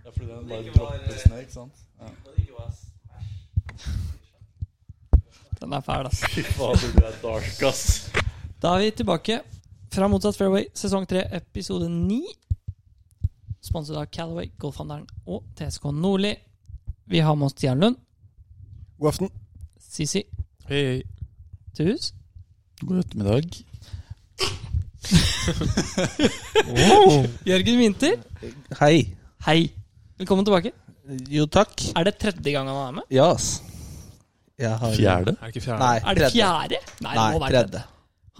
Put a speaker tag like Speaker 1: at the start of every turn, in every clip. Speaker 1: bare dropper snø, ikke sant? Ja.
Speaker 2: Den er fæl, ass.
Speaker 3: Fy fader, du er dark, ass.
Speaker 2: Da er vi tilbake fra Motsatt Fairway, sesong 3, episode 9. Sponset av Callaway, Golfhandelen og TSK Nordli. Vi har med oss Stian Lund,
Speaker 4: God aften.
Speaker 2: Sisi
Speaker 3: Hei, hei.
Speaker 2: Tuhus
Speaker 1: God ettermiddag.
Speaker 2: Jørgen Winther.
Speaker 4: Hei.
Speaker 2: Hei. Velkommen tilbake.
Speaker 4: Jo, takk.
Speaker 2: Er det tredje gang han er med?
Speaker 4: Ja, ass. Jeg har
Speaker 1: Fjerde?
Speaker 3: Er det ikke fjerde?
Speaker 4: Nei,
Speaker 2: Er det
Speaker 4: tredje.
Speaker 2: fjerde? Nei, det
Speaker 4: Nei,
Speaker 2: må være
Speaker 4: tredje.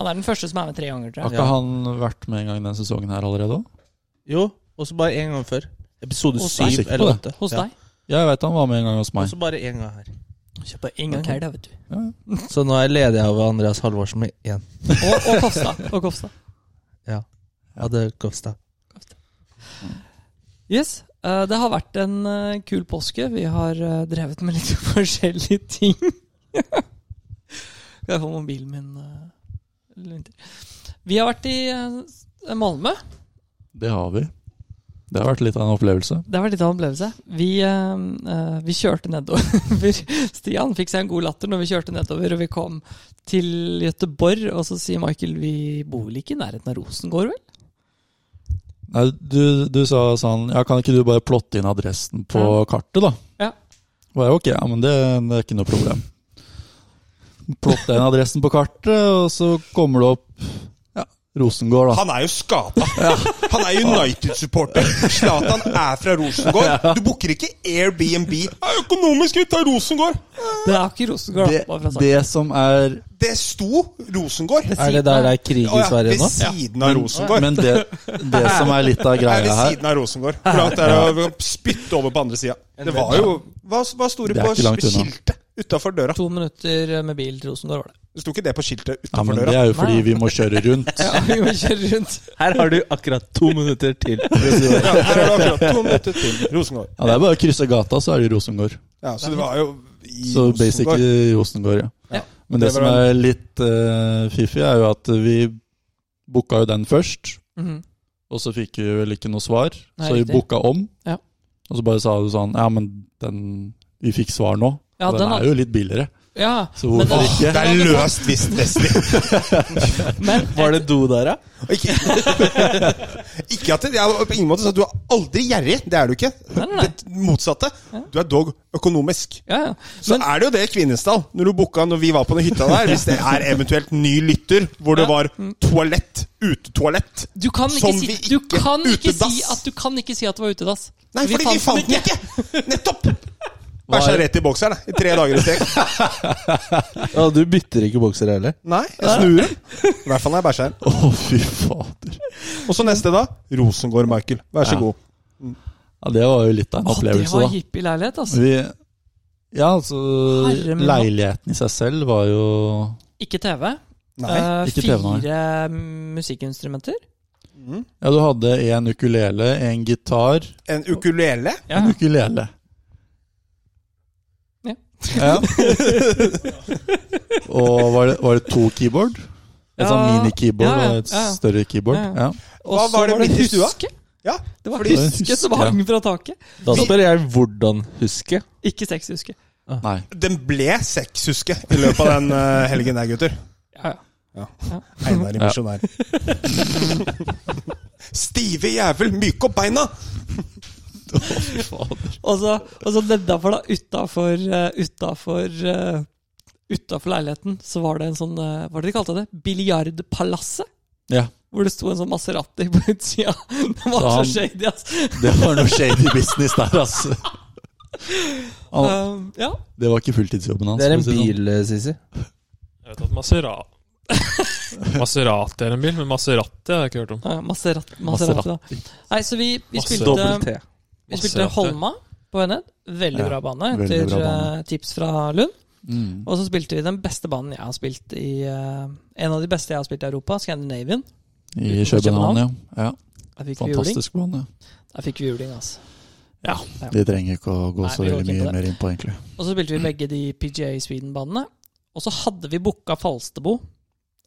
Speaker 2: Han er den første som er med tre ganger, tror
Speaker 1: Har
Speaker 2: jeg.
Speaker 1: ikke han vært med en gang denne sesongen her allerede òg?
Speaker 4: Jo, og så bare én gang før. Episode
Speaker 2: Hos deg.
Speaker 4: syv eller
Speaker 1: Sikker
Speaker 4: åtte.
Speaker 2: Hos deg.
Speaker 1: Jeg veit han var med en gang hos
Speaker 4: Og
Speaker 1: meg.
Speaker 4: så bare én gang her.
Speaker 2: Kjøper en gang her, da, vet du.
Speaker 4: Så nå er jeg ledig av Andreas Halvorsen med én.
Speaker 2: Og, og Kofstad. Og Kofstad.
Speaker 4: Ja, det kosta.
Speaker 2: Yes. eh, det har vært en eh, kul påske. Vi har eh, drevet med litt forskjellige ting. Skal jeg få mobilen min eh, eller ikke? Vi har vært i eh, Malmö.
Speaker 1: Det har vi. Det har vært litt av en opplevelse.
Speaker 2: Det har vært litt av en opplevelse. Vi, eh, eh, vi kjørte nedover. Stian fikk seg en god latter når vi kjørte nedover, og vi kom til Gøteborg. Og så sier Michael vi bor vel ikke i nærheten av Rosengård, vel?
Speaker 1: Nei, du, du sa sånn Ja, kan ikke du bare plotte inn adressen på kartet, da?
Speaker 2: Ja.
Speaker 1: Var jeg ok, ja, men det, det er ikke noe problem. Plotte inn adressen på kartet, og så kommer det opp ja, Rosengård, da.
Speaker 5: Han er jo skada! Han er United-supporter. Zlatan er fra Rosengård. Du booker ikke Airbnb. Det er økonomisk ut av Rosengård!
Speaker 2: Det er ikke Rosengård.
Speaker 1: Det,
Speaker 2: da, bare for å si.
Speaker 1: det som er
Speaker 5: Det sto Rosengård!
Speaker 4: Er det der det er krig
Speaker 5: Å
Speaker 4: i
Speaker 5: ja,
Speaker 4: Sverige
Speaker 5: ved
Speaker 4: nå?
Speaker 5: siden av Rosengård.
Speaker 1: Men det, det som er litt av
Speaker 5: Det er
Speaker 1: greia
Speaker 5: ved
Speaker 1: her
Speaker 5: siden av Rosengård. Hvor langt er det å spytte over på andre sida? Det var jo Hva, hva sto det
Speaker 1: Det er
Speaker 5: på
Speaker 1: ikke langt unna.
Speaker 5: skiltet utafor døra?
Speaker 2: To minutter med bil til Rosengård, var det.
Speaker 5: Det sto ikke det på skiltet
Speaker 1: Ja, men
Speaker 5: utafor
Speaker 1: det
Speaker 5: døra?
Speaker 1: er jo fordi vi må kjøre rundt.
Speaker 2: Ja, vi må kjøre rundt.
Speaker 4: Her har du akkurat to minutter til.
Speaker 5: Ja, her er det akkurat to minutter til Rosengård.
Speaker 1: Ja, Det er bare å krysse gata, så er det Rosengård.
Speaker 5: Ja, så det var jo i
Speaker 1: Så
Speaker 5: Rosengård.
Speaker 1: basically Rosengård,
Speaker 2: Ja.
Speaker 1: ja. Men det
Speaker 5: Det
Speaker 1: som
Speaker 5: var
Speaker 1: er litt eh, fiffig, er jo at vi booka jo den først.
Speaker 2: Mhm.
Speaker 1: Og så fikk vi vel ikke noe svar,
Speaker 2: Nei,
Speaker 1: så vi
Speaker 2: riktig.
Speaker 1: booka om.
Speaker 2: Ja.
Speaker 1: Og så bare sa du sånn Ja, men den Vi fikk svar nå.
Speaker 2: Ja,
Speaker 1: og den,
Speaker 2: den har-
Speaker 1: er jo litt billigere.
Speaker 2: Ja,
Speaker 1: Så hvorfor
Speaker 2: men,
Speaker 1: ikke?
Speaker 5: Det er løst visst, Wesley.
Speaker 2: men
Speaker 4: Var det do der, da?
Speaker 5: Ikke, ikke at det, jeg er på ingen måte sånn at du er aldri gjerrig. Det er du ikke.
Speaker 2: Nei, nei, nei.
Speaker 5: Det motsatte. Du er dog økonomisk.
Speaker 2: ja, ja.
Speaker 5: Så er det jo det i Kvinesdal, når du booka når vi var på den hytta der, hvis det er eventuelt ny lytter, hvor det
Speaker 2: Ja.
Speaker 5: var toalett, utetoalett
Speaker 2: Du kan ikke,
Speaker 5: Som
Speaker 2: si,
Speaker 5: vi
Speaker 2: du
Speaker 5: ikke
Speaker 2: kan ikke
Speaker 5: utedass.
Speaker 2: si at du kan ikke si at det var utedass.
Speaker 5: Nei, fordi vi fant den ikke! Nettopp! Bæsja rett i bokseren da, i tre dager i strek.
Speaker 4: Ja, du bytter ikke bokser heller?
Speaker 5: Nei, jeg snur den. I hvert fall når jeg bæsjer den.
Speaker 1: Å, fy fader.
Speaker 5: Og så neste, da. Rosengård, Michael. Vær så
Speaker 1: Ja.
Speaker 5: god.
Speaker 1: Ja, det var jo litt av
Speaker 2: Å,
Speaker 1: en
Speaker 2: det
Speaker 1: opplevelse,
Speaker 2: var
Speaker 1: da.
Speaker 2: hippie leilighet, altså.
Speaker 1: Vi, ja, altså
Speaker 2: Herre min.
Speaker 1: Leiligheten i seg selv var jo
Speaker 2: Ikke TV.
Speaker 5: Nei.
Speaker 2: Eh,
Speaker 1: ikke TV, nei.
Speaker 2: Fire musikkinstrumenter.
Speaker 1: Ja, du hadde en ukulele, en gitar,
Speaker 5: En ukulele.
Speaker 2: Ja.
Speaker 1: en ukulele.
Speaker 2: Ja.
Speaker 1: Ja. Og var det, var det to keyboard? Et
Speaker 2: Ja.
Speaker 1: sånn mini-keyboard
Speaker 2: Ja, ja,
Speaker 1: og et
Speaker 2: ja, ja.
Speaker 1: større keyboard.
Speaker 2: Ja, ja.
Speaker 1: Ja.
Speaker 2: Og
Speaker 5: Hva
Speaker 2: så
Speaker 5: var det midt i stua?
Speaker 2: huske.
Speaker 5: Ja,
Speaker 2: Det var
Speaker 5: fordi-
Speaker 2: huske som hang fra taket.
Speaker 4: Da spør jeg hvordan huske.
Speaker 2: Ikke sexhuske.
Speaker 1: Nei.
Speaker 5: Den ble seks, husker jeg, i løpet av den eh, helgen der, gutter.
Speaker 2: Ja, ja.
Speaker 5: Einar i
Speaker 1: Ja.
Speaker 5: misjonær. Stive jævel, myk opp beina!
Speaker 2: Og så, og så nedenfor, da, eh, utafor Utafor Utafor eh, leiligheten, så var det en sånn eh, Hva var det de kalte det? Biljardpalasset?
Speaker 1: Ja,
Speaker 2: Hvor det sto en sånn Maserati på utsida. Det var
Speaker 1: Så
Speaker 2: så
Speaker 1: han-
Speaker 2: shady, ass.
Speaker 1: det var noe shady business der, altså. Han,
Speaker 2: Um, ja.
Speaker 1: det var ikke fulltidsjobben hans.
Speaker 4: Det er en
Speaker 1: for å si det sånn.
Speaker 4: bil, eh, Sisi.
Speaker 3: Jeg vet at Masera... Maserati er en bil, men Maserati har jeg ikke hørt om.
Speaker 2: ja, Maserat, Maserati, da. Nei, så vi, vi spilte,
Speaker 4: Dobbel T.
Speaker 2: vi spilte
Speaker 3: Maserati.
Speaker 2: Holma på Vened. Veldig
Speaker 1: Ja,
Speaker 2: bra bane,
Speaker 1: veldig
Speaker 2: etter
Speaker 1: bra bane.
Speaker 2: eh, tips fra Lund.
Speaker 1: Mm.
Speaker 2: Og så spilte vi den beste banen jeg har spilt i eh, En av de beste jeg har spilt i Europa, Scandinavian.
Speaker 1: I København, ja. ja.
Speaker 2: Der fikk vi juling.
Speaker 1: Fantastisk bane.
Speaker 2: Der fikk vi juling, altså.
Speaker 1: Ja,
Speaker 2: Ja.
Speaker 1: De trenger ikke å gå
Speaker 2: Nei,
Speaker 1: så
Speaker 2: vi går
Speaker 1: veldig
Speaker 2: ikke inn på
Speaker 1: mye mer inn på, egentlig.
Speaker 2: Og så spilte vi begge de PGA Sweden-banene. Og så hadde vi booka Falstebo.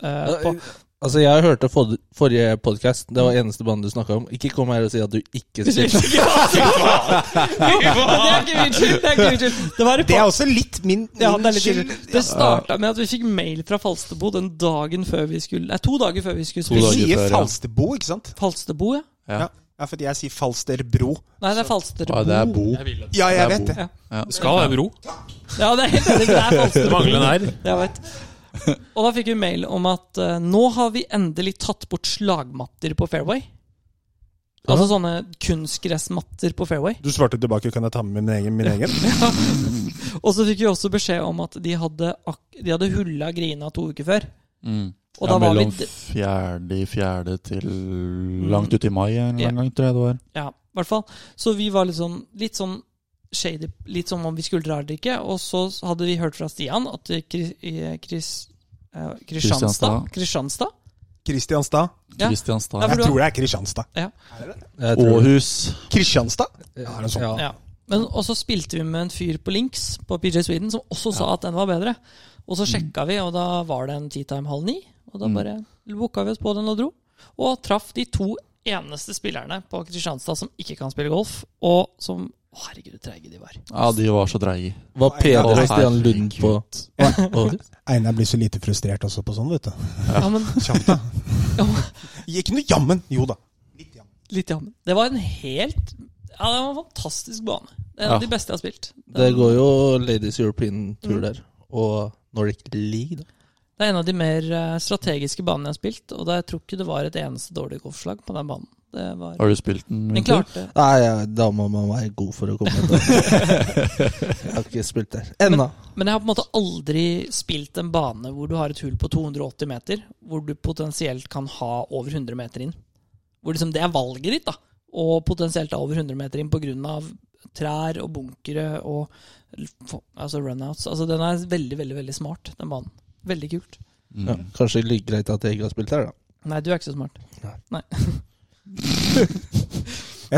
Speaker 2: eh, på,
Speaker 4: Altså, jeg hørte for, forrige podkast. Det var eneste bandet du snakka om. Ikke kom her og si at du ikke spilte.
Speaker 2: Det er ikke min skyld! Det er ikke min skyld. Det var i
Speaker 5: Det er også litt min, min
Speaker 2: Ja, det er litt
Speaker 5: skyld.
Speaker 2: irriterende. Det starta med at vi fikk mail fra Falsterbo den dagen før vi skulle Nei, to dager før vi skulle
Speaker 1: To
Speaker 5: Du
Speaker 2: spille.
Speaker 1: dager
Speaker 5: sier
Speaker 1: før, ja.
Speaker 5: Falsterbo, ikke sant?
Speaker 2: Falsterbo, ja.
Speaker 1: Ja.
Speaker 5: Ja, fordi jeg sier Falsterbro.
Speaker 2: Nei, det er Falsterbo.
Speaker 1: Ja, det er Bo.
Speaker 3: Jeg vil at
Speaker 5: Ja,
Speaker 1: Det
Speaker 5: jeg
Speaker 1: er
Speaker 5: vet
Speaker 1: Bo.
Speaker 5: det.
Speaker 3: det skal være bro.
Speaker 2: Ja, det er helt enig. Det er
Speaker 3: Det
Speaker 2: Falsterbo.
Speaker 3: mangler en R.
Speaker 2: Jeg vet. Og da fikk vi mail om at eh, nå har vi endelig tatt bort slagmatter på fairway. Altså sånne kunstgressmatter på fairway.
Speaker 5: Du svarte tilbake, kan jeg ta med min egen? Min egen?
Speaker 2: Og så fikk vi også beskjed om at de hadde, ak de hadde hulla grina to uker før.
Speaker 1: Mm.
Speaker 2: Og
Speaker 1: ja,
Speaker 2: da var vi
Speaker 1: mellom
Speaker 2: d- Mm.
Speaker 1: fjerde i fjerde til langt ut i mai en eller annen
Speaker 2: Ja.
Speaker 1: gang, tror jeg det var.
Speaker 2: Ja, i hvert fall. Så vi var litt sånn, litt sånn shady, litt som om vi skulle rardrikke. Og så hadde vi hørt fra Stian at eh, Kri- eh, Kris, eh, Kristianstad
Speaker 1: Kristianstad.
Speaker 2: Kristianstad?
Speaker 5: Kristianstad?
Speaker 2: Ja.
Speaker 1: Kristianstad.
Speaker 2: Ja, for
Speaker 5: Jeg
Speaker 2: du-
Speaker 5: tror det er Kristianstad.
Speaker 4: Jeg tror-
Speaker 1: Åhus.
Speaker 5: Kristianstad? Ja, det er sånn.
Speaker 4: Ja.
Speaker 2: Ja. Men, og så spilte vi med en fyr på Links på PJ Sweden som også sa at den var bedre. Og så sjekka vi, og da var det en teatime halv ni. Og da bare booka vi oss på den og dro. Og traff de to eneste spillerne på Kristianstad som ikke kan spille golf, og som Å, herregud, treige de var.
Speaker 1: Ja, de var så dreige.
Speaker 4: Var Peder
Speaker 1: Å,
Speaker 4: og Stian Lund på Å,
Speaker 5: Einar blir så lite frustrert også på sånn, vet du.
Speaker 2: Ja, men
Speaker 5: Kjapt, da. Ikke noe jammen. Jo da. Litt jammen.
Speaker 2: Litt jammen. Det var en helt Ja, det var en fantastisk bane. Det er en av
Speaker 1: Ja.
Speaker 2: de beste jeg har spilt. Det
Speaker 4: Det
Speaker 2: er,
Speaker 4: går jo Ladies European
Speaker 5: Mm.
Speaker 4: Tour der. Og Nordic League, da.
Speaker 2: det er en av de mer eh, strategiske banene jeg har spilt, og da jeg tror ikke det var et eneste dårlig golfslag på den banen. Det var
Speaker 1: Har du spilt den?
Speaker 2: Den
Speaker 1: Winter?
Speaker 2: klarte
Speaker 4: Nei, ja, da må man være god for å komme etter. Jeg har ikke spilt der ennå.
Speaker 2: Men jeg har på en måte aldri spilt en bane hvor du har et hull på 280 meter, hvor du potensielt kan ha over 100 meter inn. Hvor liksom det er valget ditt, da. Og potensielt da over 100 meter inn pga. trær og bunkere og l- f- altså runouts. Altså den er veldig, veldig veldig smart, den banen. Veldig kult.
Speaker 1: Mm.
Speaker 4: Ja, kanskje det ligger greit at jeg ikke har spilt der, da.
Speaker 2: Nei, du er ikke så smart.
Speaker 5: Jeg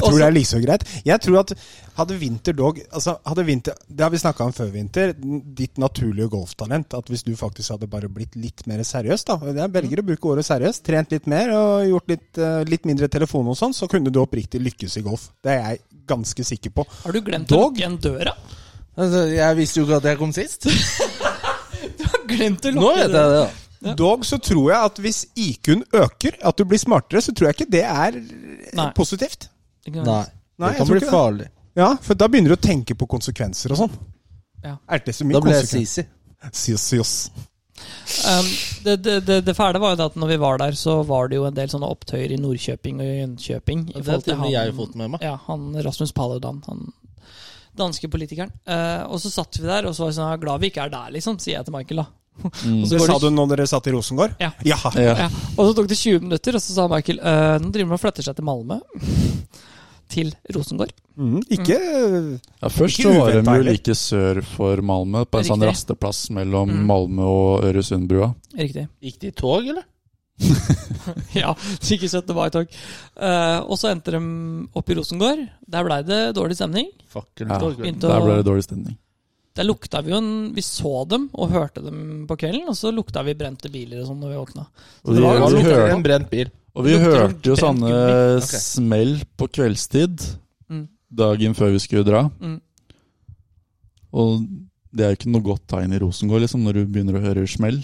Speaker 5: tror
Speaker 2: Også-
Speaker 5: det er like så greit. Jeg tror at hadde Winter Dog altså hadde Winter, Det har vi snakka om før, Winter. Ditt naturlige golftalent. At hvis du faktisk hadde bare blitt litt mer seriøs, da og Jeg velger å bruke året seriøst. Trent litt mer og gjort litt, eh, litt mindre telefon og sånn, så kunne du oppriktig lykkes i golf. Det er jeg ganske sikker på.
Speaker 2: Har du glemt å
Speaker 5: Dog?
Speaker 2: lukke igjen døra?
Speaker 4: Altså, jeg visste jo ikke at jeg kom sist.
Speaker 2: Glemt å
Speaker 4: Nå
Speaker 2: lukke
Speaker 4: vet jeg det, da.
Speaker 5: Dog så tror jeg at hvis IQ-en øker, at du blir smartere, så tror jeg ikke det er eh,
Speaker 2: Nei.
Speaker 5: positivt.
Speaker 2: Ikke sant?
Speaker 4: Nei,
Speaker 5: Nei,
Speaker 4: det
Speaker 5: jeg
Speaker 4: kan
Speaker 5: tror
Speaker 4: bli
Speaker 5: ikke det.
Speaker 4: farlig.
Speaker 5: Ja, for da begynner du å tenke på konsekvenser og sånn.
Speaker 2: Ja.
Speaker 5: Er det så mye
Speaker 4: Da ble jeg
Speaker 5: konsekvenser?
Speaker 4: sisi.
Speaker 5: Sios, sios.
Speaker 2: Um, det, det, det, det fæle var jo det at når vi var der, så var det jo en del sånne opptøyer i Nordkjøping og i Jönköping. i
Speaker 4: Det
Speaker 2: forhold til
Speaker 4: har jeg
Speaker 2: han-
Speaker 4: fått med meg.
Speaker 2: Ja, han Rasmus Paludan, han danske politikeren. Eh, og så satt vi der, og så var jeg sånn, «Jeg er glad vi ikke er der, liksom, sier jeg til Michael da.
Speaker 1: Mm.
Speaker 2: Og så
Speaker 5: Det
Speaker 2: går
Speaker 5: sa
Speaker 2: det-
Speaker 5: du når dere satt i Rosengård?
Speaker 2: Ja.
Speaker 5: Jaha.
Speaker 1: Ja.
Speaker 2: Ja. Og så tok det 20 minutter, og så sa Michael, «Eh, nå driver man og flytter seg til Malmö, til Rosengård.
Speaker 5: Mm, ikke
Speaker 1: Ja, først
Speaker 5: Ikke
Speaker 1: så var de
Speaker 5: uventet
Speaker 1: jo
Speaker 5: heller.
Speaker 1: like sør for Malmö, på en sånn
Speaker 2: Riktig.
Speaker 1: rasteplass mellom
Speaker 2: Mm.
Speaker 1: Malmö og Øresundbrua.
Speaker 2: Riktig.
Speaker 4: Gikk de i tog, eller?
Speaker 2: ja, sikkert søtt det var i tog. Eh, og så endte de opp i Rosengård. Der ble det dårlig stemning.
Speaker 4: Fakkeltog.
Speaker 2: Begynte
Speaker 1: Der ble
Speaker 2: å-
Speaker 1: det dårlig stemning.
Speaker 2: Der lukta vi jo en Vi så dem og hørte dem på kvelden, og så lukta vi brente biler og sånn når vi våkna.
Speaker 1: Og
Speaker 2: det
Speaker 1: vi,
Speaker 2: var
Speaker 1: og
Speaker 2: ganske
Speaker 1: vi,
Speaker 4: Lukter
Speaker 1: hør,
Speaker 4: en brent bil.
Speaker 1: og vi
Speaker 2: lukter som
Speaker 1: hørte jo
Speaker 2: brent
Speaker 1: sånne
Speaker 2: gummi.
Speaker 4: Ok.
Speaker 1: smell på kveldstid
Speaker 2: Mm.
Speaker 1: dagen før vi skulle dra.
Speaker 2: Mm.
Speaker 1: Og det er jo ikke noe godt tegn i Rosengård liksom, når du begynner å høre smell.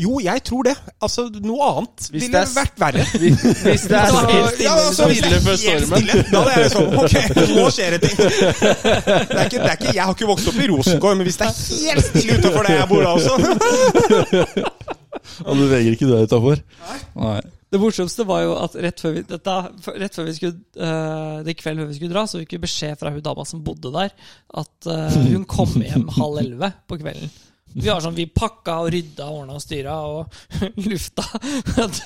Speaker 5: Jo, jeg tror det. Altså, noe annet
Speaker 4: Hvis
Speaker 5: ville
Speaker 4: det er s-
Speaker 5: vært verre.
Speaker 4: Hvis det
Speaker 2: er
Speaker 4: er
Speaker 2: så helt
Speaker 5: Ja, altså, hvis det er
Speaker 4: stille før
Speaker 5: helt
Speaker 4: stormen.
Speaker 5: stille, Da er det sånn Ok, nå skjer det ting. Det er ikke, det er ikke, jeg har ikke vokst opp i Rosengård, men hvis det er helt stille utenfor der jeg bor da også
Speaker 1: Og du veger ikke deg utafor. Nei.
Speaker 2: Det morsomste var jo at rett før vi, dette, rett før vi skulle, eh, det kveld før vi skulle dra, så fikk vi beskjed fra hun dama som bodde der, at eh, hun kom hjem halv elleve på kvelden. Vi var sånn, vi pakka og rydda og ordna og styra og lufta. At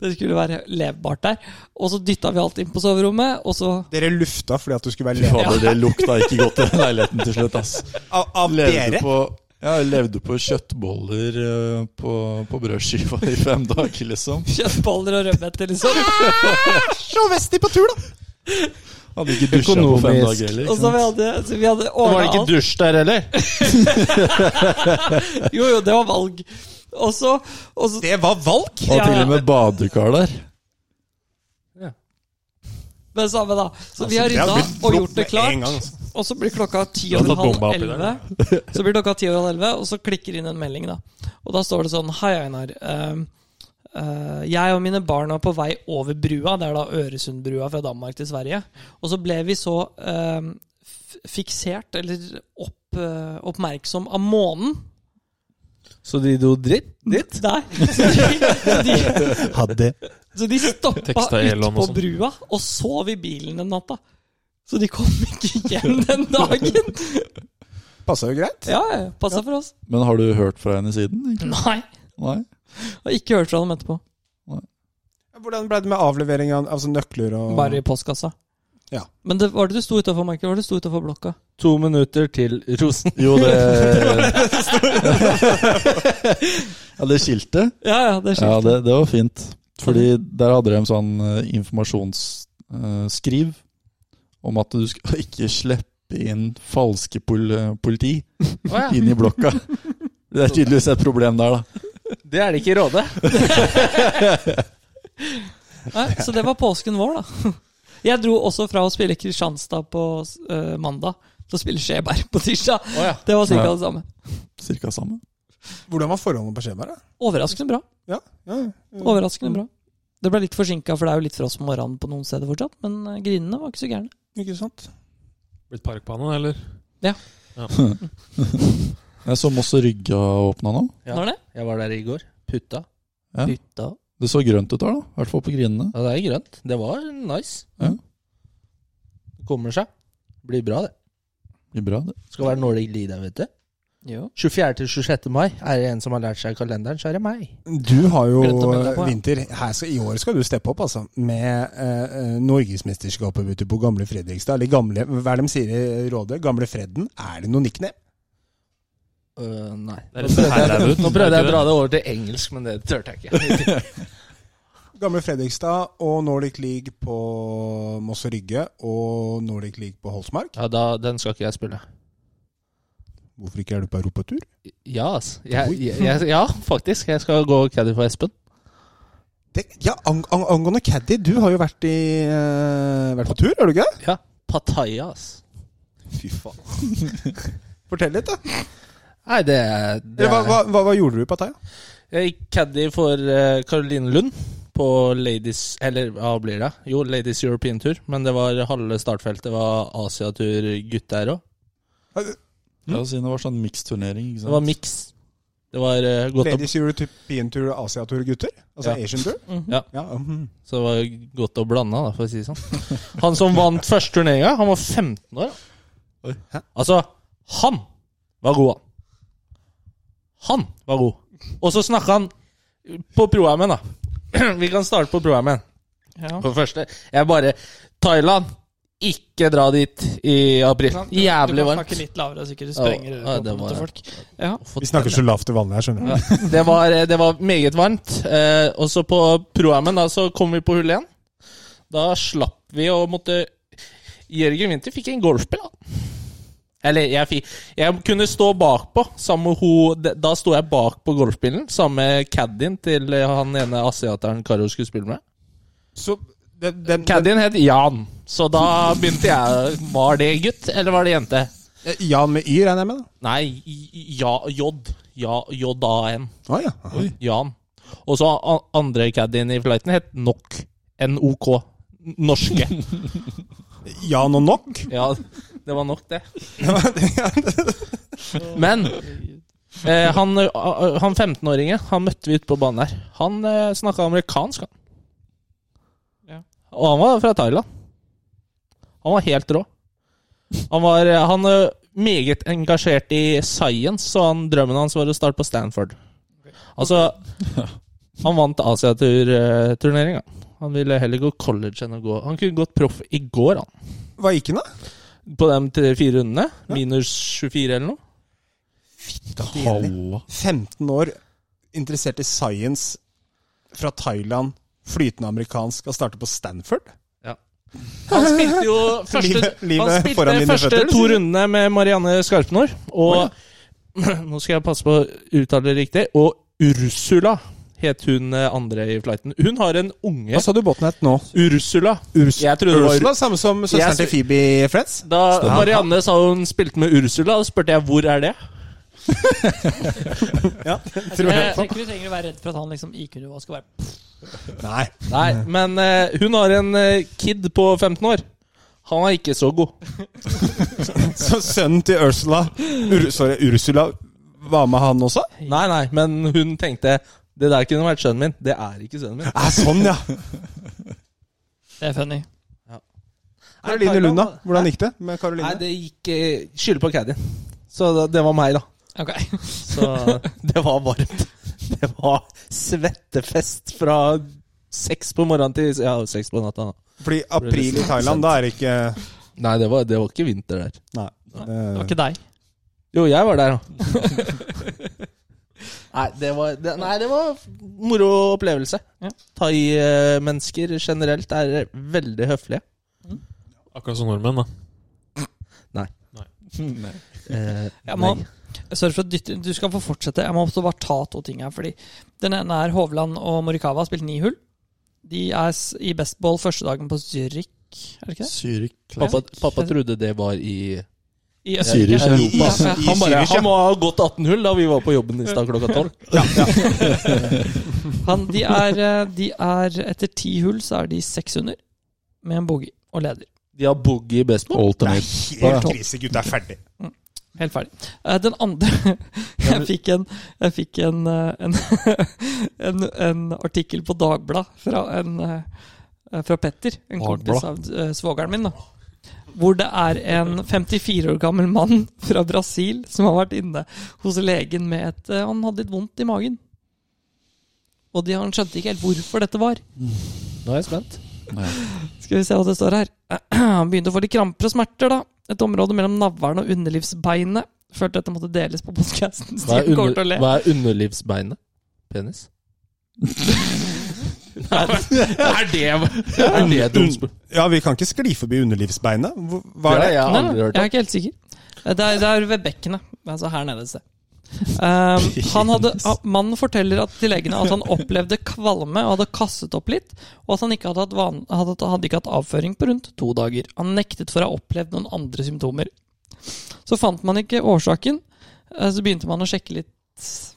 Speaker 2: det skulle være levbart der. Og så dytta vi alt inn på soverommet, og så
Speaker 5: Dere lufta fordi at du skulle
Speaker 1: Fy
Speaker 5: være leder.
Speaker 1: fader, det lukta ikke godt i den leiligheten til slutt, ass.
Speaker 5: Av, av
Speaker 1: Levde
Speaker 5: dere?
Speaker 1: på, ja, levde på kjøttboller eh, på, på brødskiva i fem dager, liksom.
Speaker 2: kjøttboller og rødbeter, liksom.
Speaker 5: Så Vesti på tur, da!
Speaker 1: Hadde ikke dusja på
Speaker 4: Økonomisk.
Speaker 1: fem dager liksom. heller.
Speaker 2: Og
Speaker 1: ikke
Speaker 2: så vi
Speaker 1: sant?
Speaker 2: hadde, så vi hadde
Speaker 4: Det var
Speaker 2: ordna
Speaker 4: ikke
Speaker 2: alt.
Speaker 4: dusj der heller.
Speaker 2: Jo, jo, det var valg. Og så, og så
Speaker 5: Det var valk!
Speaker 1: Og til og med badekar der.
Speaker 2: Men samme, da. Så vi har rydda og gjort det klart.
Speaker 5: altså.
Speaker 2: Og så blir klokka ti
Speaker 3: Du
Speaker 2: over
Speaker 3: har tatt
Speaker 2: halv
Speaker 3: bomba oppi
Speaker 2: elleve. Så blir klokka ti over halv elleve, og så klikker inn en melding, da. Og da står det sånn Hei, Einar. Ehm, eh, jeg og mine barn var på vei over brua, det er da Øresundbrua fra Danmark til Sverige. Og så ble vi så ehm, f- fiksert, eller opp, eh, oppmerksom av månen.
Speaker 4: Så de dro dritt dit?
Speaker 2: Der. Så de, så de,
Speaker 5: Hadde
Speaker 2: Så de stoppa
Speaker 3: Teksta
Speaker 2: ut
Speaker 3: Elon og
Speaker 2: på
Speaker 3: sånn.
Speaker 2: brua og sov i bilen den natta. Så de kom ikke hjem den dagen.
Speaker 5: Passa jo greit.
Speaker 2: Ja, ja, passa for oss.
Speaker 1: Men har du hørt fra henne siden? egentlig?
Speaker 2: Nei.
Speaker 1: Nei?
Speaker 2: Og ikke hørt fra dem etterpå.
Speaker 5: Hvordan ble det med avlevering av altså nøkler og
Speaker 2: Bare i postkassa.
Speaker 5: Ja.
Speaker 2: Men det, var det du sto utafor, Michael? Var det du sto utenfor blokka?
Speaker 4: To minutter til Rosen.
Speaker 1: Jo, det Ja, det skiltet.
Speaker 2: Ja, ja, det
Speaker 1: Ja,
Speaker 2: skjer.
Speaker 1: det, det var fint. Fordi der hadde de sånn eh, informasjonsskriv eh, om at du skal ikke slippe inn falske pol politi inn i blokka. Det er tydeligvis et problem der, da.
Speaker 4: Det er det ikke i Råde.
Speaker 2: Nei, så det var påsken vår, da. Jeg dro også fra å spille Kristianstad på eh, mandag til å spille Skjeberg på tirsdag.
Speaker 4: Å ja.
Speaker 2: Det var cirka
Speaker 1: Ja.
Speaker 2: det samme.
Speaker 1: Cirka samme.
Speaker 5: Hvordan var forholdene på skjemaet?
Speaker 2: Overraskende bra.
Speaker 5: Ja. Ja.
Speaker 2: Mm. Overraskende bra. Det ble litt forsinka, for det er jo litt fra oss på morgenen på noen steder fortsatt. Men eh, grinene var ikke så gærne.
Speaker 5: Ikke sant?
Speaker 3: Blitt parkbane, eller?
Speaker 1: Jeg så Moss og Rygga åpna nå.
Speaker 4: Ja.
Speaker 2: Når det?
Speaker 4: Jeg var der i går. Putta.
Speaker 1: Ja.
Speaker 2: Hytta.
Speaker 1: Det så grønt ut der, da. I hvert fall på grinene.
Speaker 4: Ja, det er grønt. Det var nice.
Speaker 1: Ja.
Speaker 4: Det Kommer seg. Blir bra, det.
Speaker 1: Blir bra, det.
Speaker 4: Skal være Nordic League der, vet du. 24. til 26. mai er det en som har lært seg kalenderen, så er det meg.
Speaker 5: Du har jo
Speaker 2: Glemt å melde deg på, ja.
Speaker 5: vinter. Her skal, I år skal du steppe opp, altså. Med eh, eh, Norgesmesterskapet ute på gamle Fredrikstad. Eller gamle, hva er det de sier i Rådet? Gamle Fredden? Er det noe nickname?
Speaker 4: Øh, nei.
Speaker 3: Det er litt sånn herrevet ut.
Speaker 4: Nå prøvde jeg å dra det over til engelsk, men det turte jeg ikke.
Speaker 5: Gamle Fredrikstad og Nordic League på Moss og Rygge. Og Nordic League på Holsmark.
Speaker 4: Ja, da, Den skal ikke jeg spille.
Speaker 5: Hvorfor ikke er du på europatur?
Speaker 4: Ja, altså. Jeg, jeg, jeg, ja, faktisk. Jeg skal gå caddy for Espen.
Speaker 5: Det, ja, ang ang angående caddy, du har jo vært, i, eh, vært på tur, har du ikke?
Speaker 4: Ja. Pattaya, ass.
Speaker 5: Fy faen. Fortell litt, da.
Speaker 4: Nei, det, er- det
Speaker 5: Eller, hva,
Speaker 4: er-
Speaker 5: hva, hva, hva gjorde du i Pattaya?
Speaker 4: Jeg gikk caddy for eh, Caroline Lund på Ladies Eller hva blir det? Jo, Ladies European-tur. Men det var halve startfeltet var Asiatur gutt der òg.
Speaker 1: Ja, siden det var sånn miksturnering. ikke sant?
Speaker 4: Det var miks. Det var eh, godt og,
Speaker 5: Ladies European Tour, Asiatur, gutter? Altså
Speaker 4: Ja.
Speaker 5: Asian Tour?
Speaker 4: Ja.
Speaker 5: ja mhm.
Speaker 4: så det var godt å blande, da, for å si det sånn. Han som vant første turneringa, han var 15 år.
Speaker 1: Oi.
Speaker 4: Hæ? Altså, han var god, han. Han var god. Og så snakka han på pro-amen, da. Vi kan starte på pro-amen.
Speaker 2: Ja.
Speaker 4: For det første, jeg bare Thailand, ikke dra dit i april.
Speaker 2: Du
Speaker 4: Jævlig
Speaker 2: kan
Speaker 4: varmt.
Speaker 2: snakke litt lavere, sikkert sprenger
Speaker 4: Ja, ja, det
Speaker 2: øreproppene
Speaker 4: var-
Speaker 2: til folk. Ja.
Speaker 5: Vi snakker så lavt til vanlig her, skjønner du.
Speaker 4: det, var, eh, det var meget varmt. Eh, og så på proammen, da, så kom vi på hull én. Da slapp vi å måtte Jørgen Winther fikk en golfbil, da. Eller, jeg fikk Jeg kunne stå bakpå sammen med hun de- Da sto jeg bak på golfbilen sammen med caddien til eh, han ene asiateren Karo skulle spille med.
Speaker 5: Så den, den, den,
Speaker 4: Caddien het Jan, så da begynte jeg Var det gutt, eller var det jente?
Speaker 5: eh, Jan med Y, regner jeg med? da?
Speaker 4: Nei, i- i- ja, J. Ja, J-A-N.
Speaker 5: Å ja.
Speaker 4: Jan. Og så a- andre caddien i flighten het Nok. N-O-K. Norske.
Speaker 5: Jan og nok?
Speaker 4: Ja, det var nok, det. Men eh, han, eh, han 15-åringen, han møtte vi ute på banen der. Han eh, snakka amerikansk, han.
Speaker 2: Ja.
Speaker 4: Og han var fra Thailand. Han var helt rå. Han var eh, han, eh, meget engasjert i science, så han, drømmen hans var å starte på Stanford. Altså Han vant Asiaturturneringa. Han ville heller gå college enn å gå Han kunne gått proff i går, han.
Speaker 5: Hva gikk den, da?
Speaker 4: På de tre-fire rundene. Minus 24 eller noe.
Speaker 1: Halla.
Speaker 5: 15 år, interessert i science, fra Thailand, flytende amerikansk, og starter på Stanford?
Speaker 4: Han spilte jo første,
Speaker 5: Livet- livet
Speaker 4: han spilte
Speaker 5: foran dine
Speaker 4: første
Speaker 5: føtter,
Speaker 4: to
Speaker 5: sier du?
Speaker 4: rundene med Marianne Skarpnor. Og nå skal jeg passe på å uttale det riktig. Og Ursula het hun eh, andre i flighten. Hun har en unge.
Speaker 5: Hva sa du båten het nå?
Speaker 4: Ursula.
Speaker 5: Urs
Speaker 4: Jeg trodde det var-
Speaker 5: Ursula? Samme som
Speaker 4: Jeg
Speaker 5: søsteren
Speaker 4: sy-
Speaker 5: til Phoebe i Friends?
Speaker 4: Da Marianne sa hun spilte med Ursula, da spurte jeg hvor er det?
Speaker 2: Jeg, jeg tror ikke du trenger å være redd for at han liksom IQ-nivået skal være
Speaker 5: Nei.
Speaker 4: Nei, men eh, hun har en eh, kid på 15 år. Han er ikke så god.
Speaker 5: Så sønnen til Ursula Ur Sorry, Ursula var med han også?
Speaker 4: Nei, nei, men hun tenkte det der kunne vært sønnen min. Det er ikke sønnen min.
Speaker 5: Nei, sånn, ja.
Speaker 2: Det er funny.
Speaker 5: Karoline Lunda, hvordan gikk det med
Speaker 4: Nei,
Speaker 5: Karoline?
Speaker 4: det gikk eh, Skylder på Caddy. Så da- det var meg, da.
Speaker 2: Ok.
Speaker 4: Så det var varmt. Det var svettefest fra seks på morgenen til ja, seks på natta. da.
Speaker 5: Fordi april i Thailand, da er det ikke
Speaker 4: Nei, det var, det var ikke vinter der.
Speaker 5: Nei.
Speaker 2: Det var
Speaker 5: Det,
Speaker 2: ikke deg.
Speaker 4: Jo, jeg var der, da. nei, det var, det, nei, det var moro opplevelse.
Speaker 2: Ja.
Speaker 4: Thai-mennesker generelt er veldig høflige.
Speaker 3: Akkurat som nordmenn, da.
Speaker 4: Eh,
Speaker 2: Jeg må,
Speaker 4: nei.
Speaker 2: sorry for å dytte, du skal få fortsette. Jeg må også bare ta to ting her. Fordi Den ene er Hovland og Morikawa har spilt ni hull. De er s- i bestball første dagen på Zürich. Er det ikke det?
Speaker 1: Zürich
Speaker 4: Pappa, pappa trodde det var i
Speaker 2: I
Speaker 1: Zürich,
Speaker 2: Østerrike.
Speaker 1: ja.
Speaker 2: I-
Speaker 1: Europa.
Speaker 2: ja,
Speaker 4: Han, bare, han må ha gått 18 hull da vi var på jobben i stad klokka 12.
Speaker 2: Han, de, er, eh, de er Etter ti hull så er de seks under med en bogey og leder.
Speaker 4: De har boogie i baseball.
Speaker 5: er
Speaker 1: Alternate.
Speaker 5: helt krise, gutta er ferdig.
Speaker 2: Helt ferdig. Eh, Den andre Jeg fikk en, jeg fikk en, eh, en, en, en artikkel på Dagbladet fra, en, eh, fra Petter, en kompis av eh, svogeren min, da. Hvor det er en 54 år gammel mann fra Brasil som har vært inne hos legen med et eh, Han hadde litt vondt i magen. Og de, han skjønte ikke helt hvorfor dette var.
Speaker 4: Nå er jeg spent.
Speaker 2: Skal vi se hva det står her. Han begynte å få litt kramper og smerter, da. Et område mellom navlen og underlivsbeinet. Følte dette måtte deles på podcasten.
Speaker 4: Hva er,
Speaker 2: Stian kommer til å
Speaker 4: under,
Speaker 2: le.
Speaker 4: hva er underlivsbeinet? Penis? Nei, er det Er det et dumt spørsmål?
Speaker 5: Ja, vi kan ikke skli forbi underlivsbeinet. Hvor- Hva
Speaker 4: Det har
Speaker 5: er det?
Speaker 4: jeg
Speaker 2: Nei,
Speaker 4: aldri hørt
Speaker 2: Jeg
Speaker 4: om.
Speaker 2: er ikke helt sikker. Eh, Det er, det er ved bekkenet. Altså her nede et sted. Um, han hadde, ah, mannen forteller at, til legene at han opplevde kvalme og hadde kastet opp litt, og at han ikke hadde hatt, van, hadde, hadde ikke hatt avføring på rundt to dager. Han nektet for å ha opplevd noen andre symptomer. Så fant man ikke årsaken, eh, så begynte man å sjekke litt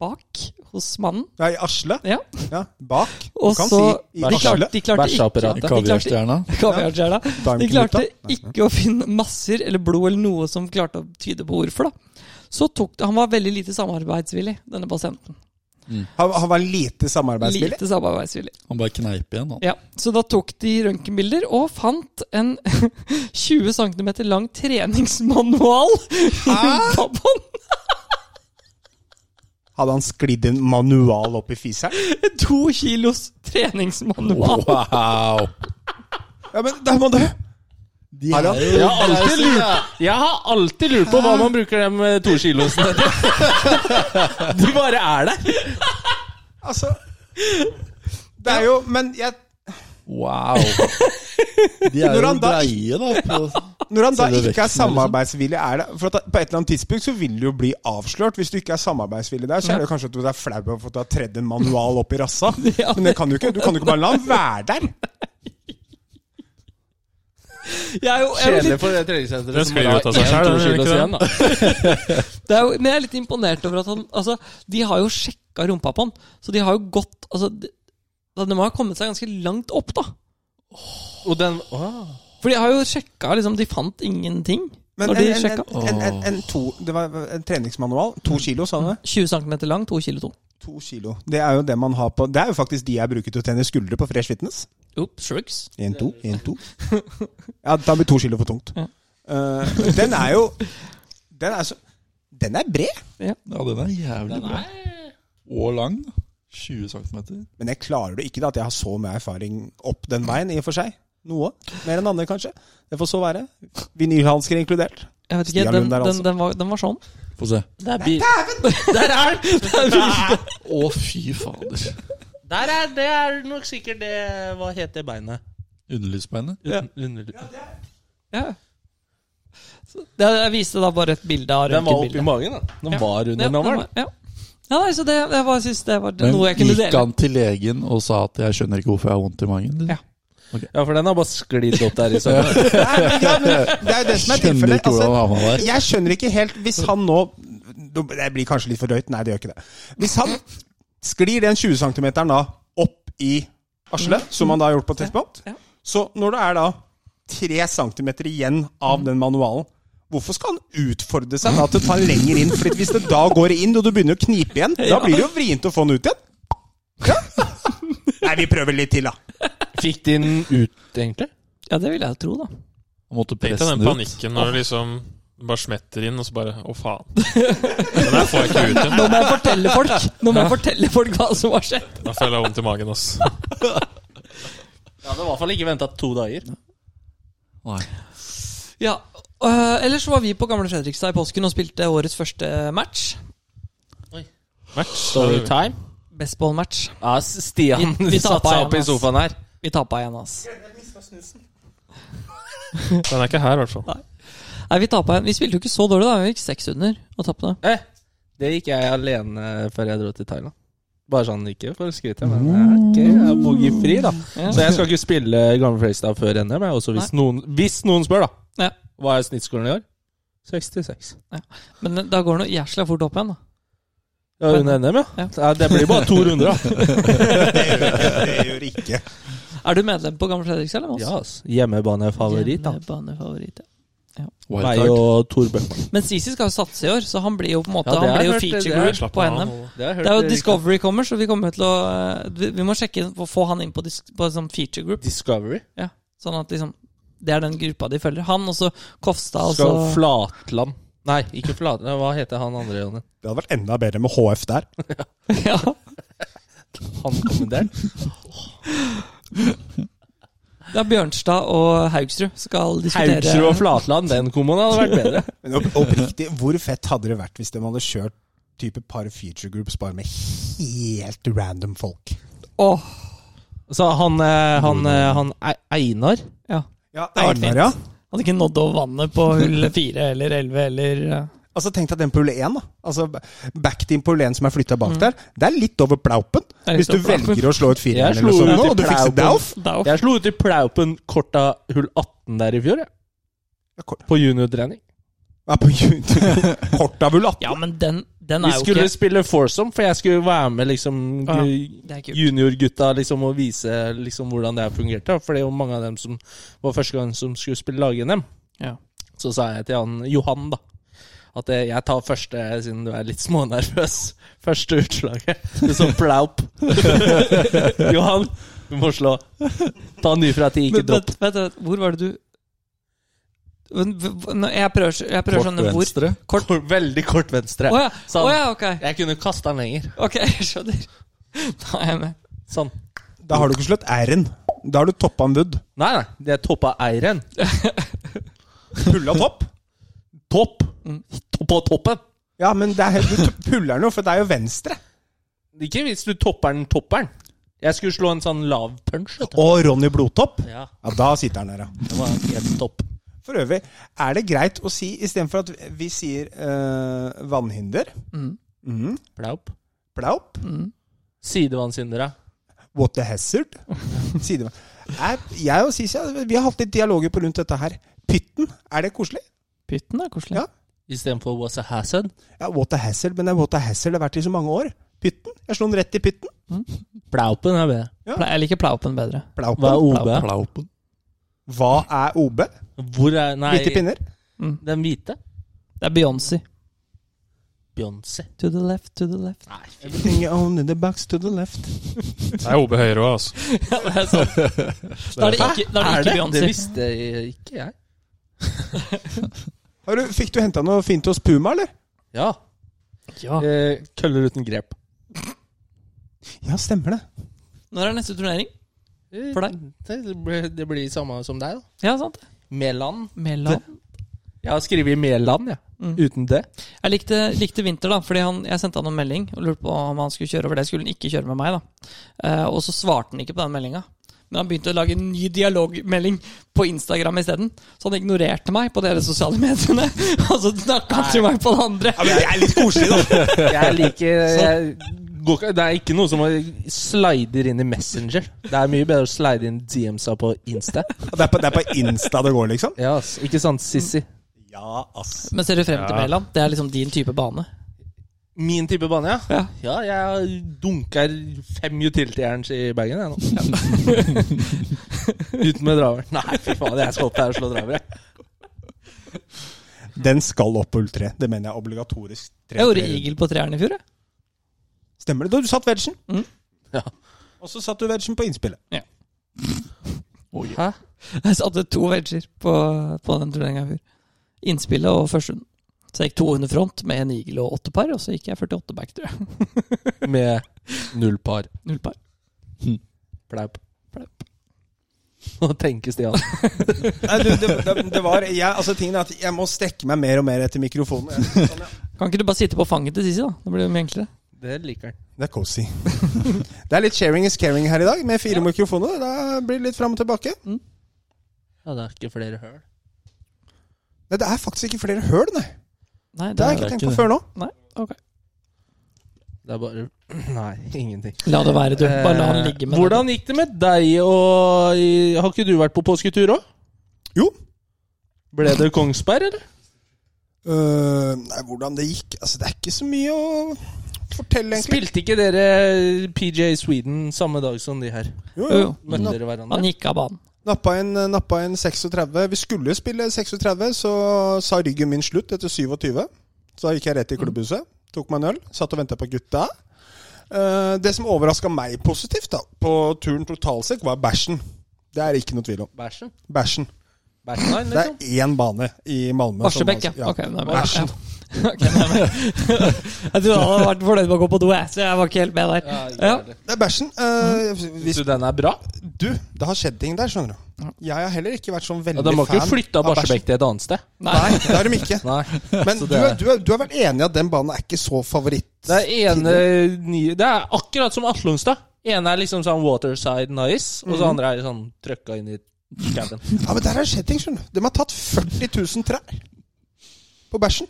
Speaker 2: bak hos mannen.
Speaker 5: Nei, Asle?
Speaker 2: Ja.
Speaker 5: Ja, bak. Du
Speaker 2: Og
Speaker 5: kan
Speaker 2: så
Speaker 5: si
Speaker 2: de klarte, de klarte ikke
Speaker 4: Bæsjeapparatet.
Speaker 1: Kaviarstjerna.
Speaker 2: Kaviarstjerna. De
Speaker 5: Daimknut, da.
Speaker 2: klarte ikke å finne masser eller blod eller noe som klarte å tyde på hvorfor. da. Så tok det, Han var veldig lite samarbeidsvillig, denne pasienten.
Speaker 5: Han, han var lite samarbeidsvillig?
Speaker 2: Lite samarbeidsvillig.
Speaker 1: Han bare kneip igjen, han.
Speaker 2: Ja, Så da tok de røntgenbilder og fant en 20 cm lang treningsmanual i babbånd.
Speaker 5: Hadde han sklidd en manual opp i fiseren?
Speaker 2: To kilos treningsmanual.
Speaker 1: Wow!
Speaker 5: Ja, men der må du
Speaker 1: De
Speaker 5: Har han-
Speaker 1: er jo
Speaker 4: Jeg har alltid lurt, jeg har alltid lurt på hva man bruker dem eh, to kilosene til. De bare er der.
Speaker 5: Altså Det er jo Men jeg
Speaker 1: Wow! De er
Speaker 5: Når
Speaker 1: jo
Speaker 5: han da-
Speaker 1: greie, da. På,
Speaker 5: Når han da
Speaker 1: Selve
Speaker 5: ikke er
Speaker 1: vekten, liksom.
Speaker 5: samarbeidsvillig, er det For at da- på et eller annet tidspunkt så vil du jo bli avslørt. Hvis du ikke er samarbeidsvillig der, så er det jo kanskje at du er flau over at du har tredd en manual opp i rassa.
Speaker 2: Ja,
Speaker 5: Men det kan du ikke. Du kan jo ikke bare la han være der.
Speaker 2: Jeg er jo, jeg er jo
Speaker 4: Kjedelig
Speaker 2: litt,
Speaker 4: for det
Speaker 3: Det
Speaker 4: treningssenteret som
Speaker 3: sklir
Speaker 4: bare
Speaker 3: ut av seg
Speaker 4: har én
Speaker 3: selv,
Speaker 4: to
Speaker 3: er det ikke
Speaker 4: kilos
Speaker 3: det?
Speaker 4: igjen. da.
Speaker 2: det er jo, men jeg er litt imponert over at han altså, De har jo sjekka rumpa på han, så de har jo gått altså, de, de må ha kommet seg ganske langt opp, da.
Speaker 4: Og den, åh.
Speaker 2: For de har jo sjekka, liksom, de fant ingenting.
Speaker 5: Men
Speaker 2: når de
Speaker 5: en, en,
Speaker 2: sjekka.
Speaker 5: en, en, en, en, to, det var en treningsmanual. To kilo, sa han det?
Speaker 2: 20 cm lang, 2 kilo tung.
Speaker 5: To kilo. Det er jo det man har på Det er jo faktisk de jeg bruker til å trene skuldre på Fresh Fitness.
Speaker 2: Oop, shrugs.
Speaker 5: En, to, en, to. Ja, da blir to kilo for tungt.
Speaker 2: Ja.
Speaker 5: Eh, den er jo Den er så Den er bred.
Speaker 1: ja, den er jævlig bra. Og lang. da. 20 cm.
Speaker 5: Men jeg klarer det ikke da, at jeg har så mye erfaring opp den veien, i og for seg. Noe. Mer enn andre, kanskje. Det får så være. Vinylhansker inkludert.
Speaker 2: Jeg vet ikke,
Speaker 5: Stian
Speaker 2: den,
Speaker 5: Lund der,
Speaker 2: den,
Speaker 5: altså.
Speaker 2: den, var, den var sånn.
Speaker 1: Få se.
Speaker 4: Der er den!
Speaker 1: Å, fy fader.
Speaker 4: Der er Det er nok sikkert det Hva heter beinet?
Speaker 1: Underlivsbeinet.
Speaker 4: Ja. Under,
Speaker 2: Ja. Så, det, jeg viste da bare et bilde av
Speaker 4: den var oppi
Speaker 2: røntgenbildet.
Speaker 4: magen, da. Den var
Speaker 2: Ja,
Speaker 4: under
Speaker 2: den var-
Speaker 4: navlen.
Speaker 2: ja. Ja, nei, så det, jeg bare synes det var
Speaker 1: Men
Speaker 2: noe jeg kunne
Speaker 1: gikk
Speaker 2: dele.
Speaker 1: han til legen og sa at 'jeg skjønner ikke hvorfor jeg har vondt i magen'?
Speaker 2: Ja.
Speaker 4: Ja, for den har bare sklidd opp der i sommer.
Speaker 5: Ja, men det er jo det som
Speaker 1: Skjønner
Speaker 5: er tilfellet.
Speaker 1: ikke hvordan
Speaker 5: Altså,
Speaker 1: han havna der.
Speaker 5: jeg skjønner ikke helt Hvis han nå Det blir kanskje litt for drøyt. Nei, det gjør ikke det. Hvis han sklir den 20 cm da opp i Asle, som han da har gjort på et tidspunkt,
Speaker 2: Mm. Ja.
Speaker 5: så når det er da 3 cm igjen av den manualen Hvorfor skal han utfordre seg da til å ta den lenger inn? Fordi hvis det da går inn, og du begynner å knipe igjen, da
Speaker 2: Ja.
Speaker 5: blir det jo vrient å få den ut igjen. Ja. Nei, vi prøver litt til, da.
Speaker 4: Fikk de den ut, egentlig?
Speaker 2: Ja, det vil jeg tro, da.
Speaker 1: Han måtte
Speaker 3: Tenk
Speaker 1: presse
Speaker 3: deg den
Speaker 1: den ut.
Speaker 3: panikken når det liksom bare smetter inn, og så bare Å, faen. Den der får jeg ikke ut igjen.
Speaker 2: Nå må jeg fortelle folk Nå må jeg fortelle folk hva som har skjedd.
Speaker 3: Da føler jeg vondt i magen, ass.
Speaker 4: Ja, det var i hvert fall ikke venta to dager.
Speaker 1: Nei.
Speaker 2: Ja, øh, Ellers var vi på Gamle Fredrikstad i påsken og spilte årets første match.
Speaker 3: Match.
Speaker 4: Storytime.
Speaker 2: Bestball-match.
Speaker 4: Ja, S- Stian
Speaker 2: Vi- vi
Speaker 4: satte
Speaker 2: tappa
Speaker 4: seg
Speaker 2: igjen,
Speaker 4: opp i
Speaker 2: ass.
Speaker 4: sofaen her.
Speaker 2: Vi tapa igjen, altså.
Speaker 3: Den er ikke her, i hvert fall.
Speaker 2: Nei, Vi tappa igjen. Vi spilte jo ikke så dårlig, da. Vi gikk seks under og tapte.
Speaker 4: Eh, det gikk jeg alene eh, før jeg dro til Thailand. Bare sånn, ikke for å skryte, men jeg er ikke jeg er boogiefri, da.
Speaker 2: Ja.
Speaker 4: Så jeg skal ikke spille Gamle Freistad før NM, jeg, også hvis noen, hvis noen spør, da.
Speaker 2: Ja.
Speaker 4: Hva er snittskolen i år? 66.
Speaker 2: Men da går det noe jæsla fort opp igjen, da.
Speaker 4: Ja, under NM, ja.
Speaker 2: Ja.
Speaker 4: ja. Det blir bare to runder, da.
Speaker 5: Det gjør, det gjør ikke
Speaker 2: Er du medlem på Gamle Fredrikstad eller med oss?
Speaker 4: Ja, ass. Hjemmebanefavoritt, da.
Speaker 2: Hjemmebanefavoritt, ja.
Speaker 1: Wild
Speaker 4: Meg
Speaker 1: card.
Speaker 4: og Tor Bøckmann.
Speaker 2: Men Sisi skal jo satse i år, så han blir jo på en måte
Speaker 4: Ja, det
Speaker 2: Han
Speaker 4: har
Speaker 2: blir jo
Speaker 4: jeg hørt, det- det
Speaker 2: feature
Speaker 4: har jeg
Speaker 2: group på NM.
Speaker 4: Det har jeg hørt
Speaker 2: Det er jo
Speaker 4: rykte.
Speaker 2: Discovery kommer, så vi kommer til å eh, Vi vi må sjekke inn- få han inn på, dis- på en sånn feature group.
Speaker 4: Discovery?
Speaker 2: Ja, sånn at liksom Det er den gruppa de følger. Han og så Kofstad og så
Speaker 4: Skal Flatland Nei, ikke Flatland. Hva heter han andre? Jonny?
Speaker 5: Det hadde vært enda bedre med HF der.
Speaker 2: ja.
Speaker 4: Han kommanderen?
Speaker 2: Det er Bjørnstad og Haugsrud skal diskutere
Speaker 4: Haugsrud og Flatland, den komboen hadde vært bedre.
Speaker 5: Men opp, oppriktig, hvor fett hadde det vært hvis de hadde kjørt type par feature groups bare med helt random folk?
Speaker 2: Åh,
Speaker 4: Så han, eh, han, eh, han E- Einar
Speaker 2: ja.
Speaker 5: Ja,
Speaker 2: det hadde vært
Speaker 5: Einar, ja.
Speaker 2: Hadde ikke nådd over vannet på hull fire eller elleve eller eh,
Speaker 5: Altså, tenk deg den på hull 1, da. Altså, backteam på hull 1 som er flytta bak der. Det er litt over plaupen.
Speaker 2: er litt
Speaker 5: Hvis du
Speaker 2: over plaupen.
Speaker 5: velger å slå et firehjul
Speaker 4: Jeg
Speaker 5: eller noe
Speaker 4: slo
Speaker 5: sånt,
Speaker 4: ut i
Speaker 5: nå, og du fikser
Speaker 4: plaupen.
Speaker 5: Dauf
Speaker 2: Dao.
Speaker 4: Jeg slo ut i plaupen kort av hull 18 der i fjor, jeg.
Speaker 5: Ja, kort.
Speaker 4: På juniortrening.
Speaker 5: Ja, på YouTube. Kort av hull 18.
Speaker 2: Ja, men den, den
Speaker 4: Vi
Speaker 2: er jo
Speaker 4: skulle
Speaker 2: ikke
Speaker 4: spille foursome, for jeg skulle være med liksom
Speaker 2: Ja,
Speaker 4: gu-
Speaker 2: Det er kult.
Speaker 4: juniorgutta liksom, og vise liksom, hvordan det her fungerte. da. For det er jo mange av dem som var første gang som skulle spille lag-NM.
Speaker 2: Ja.
Speaker 4: Så sa jeg til han Johan, da. At eh, jeg tar første, siden du er litt smånervøs. Første utslaget. Du så plaup. Johan, du må slå. Ta ny fra ti, ikke
Speaker 2: Men
Speaker 4: dropp.
Speaker 2: vent, vent, vent, hvor var det du Men v- v- nå- Jeg prøver, så- jeg prøver
Speaker 1: Kort
Speaker 2: sånn hvor
Speaker 1: venstre.
Speaker 2: Kort Å
Speaker 4: Veldig kort venstre.
Speaker 2: ja.
Speaker 4: Sånn.
Speaker 2: Å ja, ok.
Speaker 4: Jeg kunne kasta den lenger.
Speaker 2: Ok, jeg skjønner. Da er jeg med.
Speaker 4: Sånn.
Speaker 5: Da har du ikke slått R-en. Da har du toppa en wood.
Speaker 4: Nei, nei. Det er toppa eieren.
Speaker 5: Pulla topp.
Speaker 4: Topp!
Speaker 2: Mm.
Speaker 4: To- På toppen.
Speaker 5: Ja, men det er, du t- puller den jo, for det er jo venstre.
Speaker 4: Ikke hvis du topper den topperen. Jeg skulle slå en sånn lav punch. vet du.
Speaker 5: Og Ronny Blodtopp.
Speaker 4: Ja,
Speaker 5: Ja, da sitter han der, ja.
Speaker 4: det var helt topp.
Speaker 5: For øvrig, er det greit å si, istedenfor at vi sier eh, vannhinder,
Speaker 2: Mm.
Speaker 5: mhm,
Speaker 4: Plaup.
Speaker 5: plaup,
Speaker 2: Mm.
Speaker 4: Sidevannssyndere.
Speaker 5: what the hazard sier det. Er, Jeg og Sisi vi har hatt litt dialoger på rundt dette her. Pytten, er det koselig?
Speaker 2: Pytten er koselig.
Speaker 5: Ja.
Speaker 4: Istedenfor what's a hazard.
Speaker 5: Ja, what the hazard, men det er what the hazard det har vært i så mange år. Pytten. Jeg slo den rett i pytten.
Speaker 4: Plaupen er bedre.
Speaker 2: Ple- Jeg liker plaupen bedre.
Speaker 4: Hva er
Speaker 5: Plaupen.
Speaker 4: OB?
Speaker 1: Plaupen.
Speaker 5: Hva er OB?
Speaker 4: Hvor er Nei,
Speaker 5: Hvite pinner?
Speaker 4: den hvite?
Speaker 2: Mm. Det er Beyoncé.
Speaker 4: Beyoncé.
Speaker 2: To the left, to the left.
Speaker 5: Everything on the box to the left.
Speaker 3: Det er OB høyre òg, altså.
Speaker 2: Ja, det er sant. Da er det ikke, da er det ikke
Speaker 4: Det
Speaker 2: Beyoncé.
Speaker 4: visste ikke jeg.
Speaker 5: Har du, fikk du henta noe fint hos Puma, eller?
Speaker 4: Ja.
Speaker 2: Ja.
Speaker 4: Eh, køller uten grep.
Speaker 5: Ja, stemmer det.
Speaker 2: Når er neste turnering? For deg?
Speaker 4: eh, Det blir, det blir samme som deg, da.
Speaker 2: Ja, sant.
Speaker 4: Mæland.
Speaker 2: Mellom.
Speaker 4: Jeg har skrevet Mæland, jeg.
Speaker 2: Mm.
Speaker 4: Uten det.
Speaker 2: Jeg likte, likte Winter, da, fordi han, jeg sendte han en melding og lurte på om han skulle kjøre over det. Skulle han ikke kjøre med meg, da. Eh, og så svarte han ikke på den meldinga. Men han begynte å lage en ny dialogmelding på Instagram isteden. Så han ignorerte meg på dere sosiale mediene, og så snakka han til meg på det andre.
Speaker 5: Ja, men det er litt koselig, da.
Speaker 4: Jeg liker jeg går, ikke- Det er ikke noe som å slider inn i Messenger. Det er mye bedre å slide inn DMs-a på Insta.
Speaker 5: Og Det er, på, det er på Insta det går, liksom?
Speaker 4: Ja, ass. Ikke sant, Sissy?
Speaker 5: Ja, ass.
Speaker 2: Men ser du frem til
Speaker 3: Ja.
Speaker 2: Mæland? Det er liksom din type bane.
Speaker 4: Min type bane, ja?
Speaker 2: Ja.
Speaker 4: jeg dunker fem utility-jerns i bagen, jeg nå. Uten med draver. Nei, fy faen, jeg skal opp der og slå draver, jeg.
Speaker 5: Den skal opp på ull 3. Det mener jeg er obligatorisk. Tre-
Speaker 2: Jeg gjorde
Speaker 5: tre-
Speaker 2: eagle på treeren i fjor, jeg.
Speaker 5: Stemmer det? Du satt vegen.
Speaker 2: Mm.
Speaker 4: Ja.
Speaker 5: Og så satt du vegen på innspillet.
Speaker 2: Hæ? Jeg satte to wedger på, på den turneringa i fjor. Innspillet og første runden. Så jeg gikk 200 front med en eagle og åtte par, og så gikk jeg 48 back, tror jeg.
Speaker 4: Med null par.
Speaker 2: Null par.
Speaker 4: Fleip. Nå tenker Stian.
Speaker 5: Nei, du, det, det, det var jeg, altså, tingen er at jeg må strekke meg mer og mer etter mikrofonen. Jeg- Sånn, ja.
Speaker 2: Kan ikke du bare sitte på fanget til Sisi, da? Det blir det mye enklere.
Speaker 4: Det liker han.
Speaker 5: Det er cozy. Det er litt sharing is caring her i dag, med fire mikrofoner. Da blir det litt fram og tilbake.
Speaker 4: Ja, det er ikke flere høl.
Speaker 5: Nei, det er faktisk ikke flere høl, nei.
Speaker 2: Nei,
Speaker 5: Det har jeg
Speaker 1: Det er
Speaker 5: ikke tenkt
Speaker 1: ikke
Speaker 5: på
Speaker 1: det.
Speaker 5: før nå.
Speaker 2: Ok.
Speaker 4: Det er bare Nei, ingenting.
Speaker 2: La det være, du. Bare la han
Speaker 4: Eh,
Speaker 2: ligge med
Speaker 4: Hvordan gikk det med deg og Har ikke du vært på påsketur òg?
Speaker 5: Jo.
Speaker 4: Ble det Kongsberg, eller?
Speaker 5: Øh, nei, hvordan det gikk Altså, det er ikke så mye å fortelle, egentlig.
Speaker 4: Spilte ikke dere PJ Sweden samme dag som de her?
Speaker 2: Jo,
Speaker 5: Jo,
Speaker 2: Mm. jo.
Speaker 4: Møtte
Speaker 5: Napp-
Speaker 4: dere
Speaker 2: Han
Speaker 4: hverandre?
Speaker 2: gikk av banen.
Speaker 5: Nappa en, eh, nappa en 36. Vi skulle jo spille 36, så sa ryggen min slutt etter 27. Så da gikk jeg
Speaker 2: Mm.
Speaker 5: rett i klubbhuset, tok meg en øl, satt og venta på gutta. Eh, Det som overraska meg positivt da, på turen totalt sett, var bæsjen. Det er ikke noe tvil om.
Speaker 4: Bæsjen?
Speaker 5: Bæsjen.
Speaker 4: Bæsjen,
Speaker 5: Det
Speaker 4: liksom?
Speaker 5: er én bane i Malmö. som- altså-
Speaker 2: Arsebekk, ja. Ok, det er bra.
Speaker 5: Bæsjen.
Speaker 2: Ja. Ok, det er bra. jeg trodde han hadde vært fornøyd med å gå på do, jeg, så jeg var ikke helt med der. Ja.
Speaker 5: Det er bæsjen. Eh, hvis
Speaker 2: Mm.
Speaker 4: Hvis du den er bra?
Speaker 5: du, det har skjedd ting der, skjønner du. Jeg har heller ikke vært sånn
Speaker 4: Ja,
Speaker 5: veldig fan
Speaker 4: De må ikke flytte
Speaker 5: av bæsjen.
Speaker 4: Barsebekk til et annet sted.
Speaker 2: Nei.
Speaker 5: Nei, det har de ikke.
Speaker 4: Nei.
Speaker 5: Men
Speaker 4: Så det
Speaker 5: du,
Speaker 4: er-
Speaker 5: er, du, er, du har vært enig i at den banen er ikke så favoritt?
Speaker 4: Det er ene nye Det er akkurat som Atlungstad. Ene er liksom sånn waterside nice,
Speaker 5: Mhm.
Speaker 4: og så andre er sånn trøkka inn i skauen.
Speaker 5: Ja, men der har det skjedd ting, skjønner du. De har tatt 40 000 trær på bæsjen.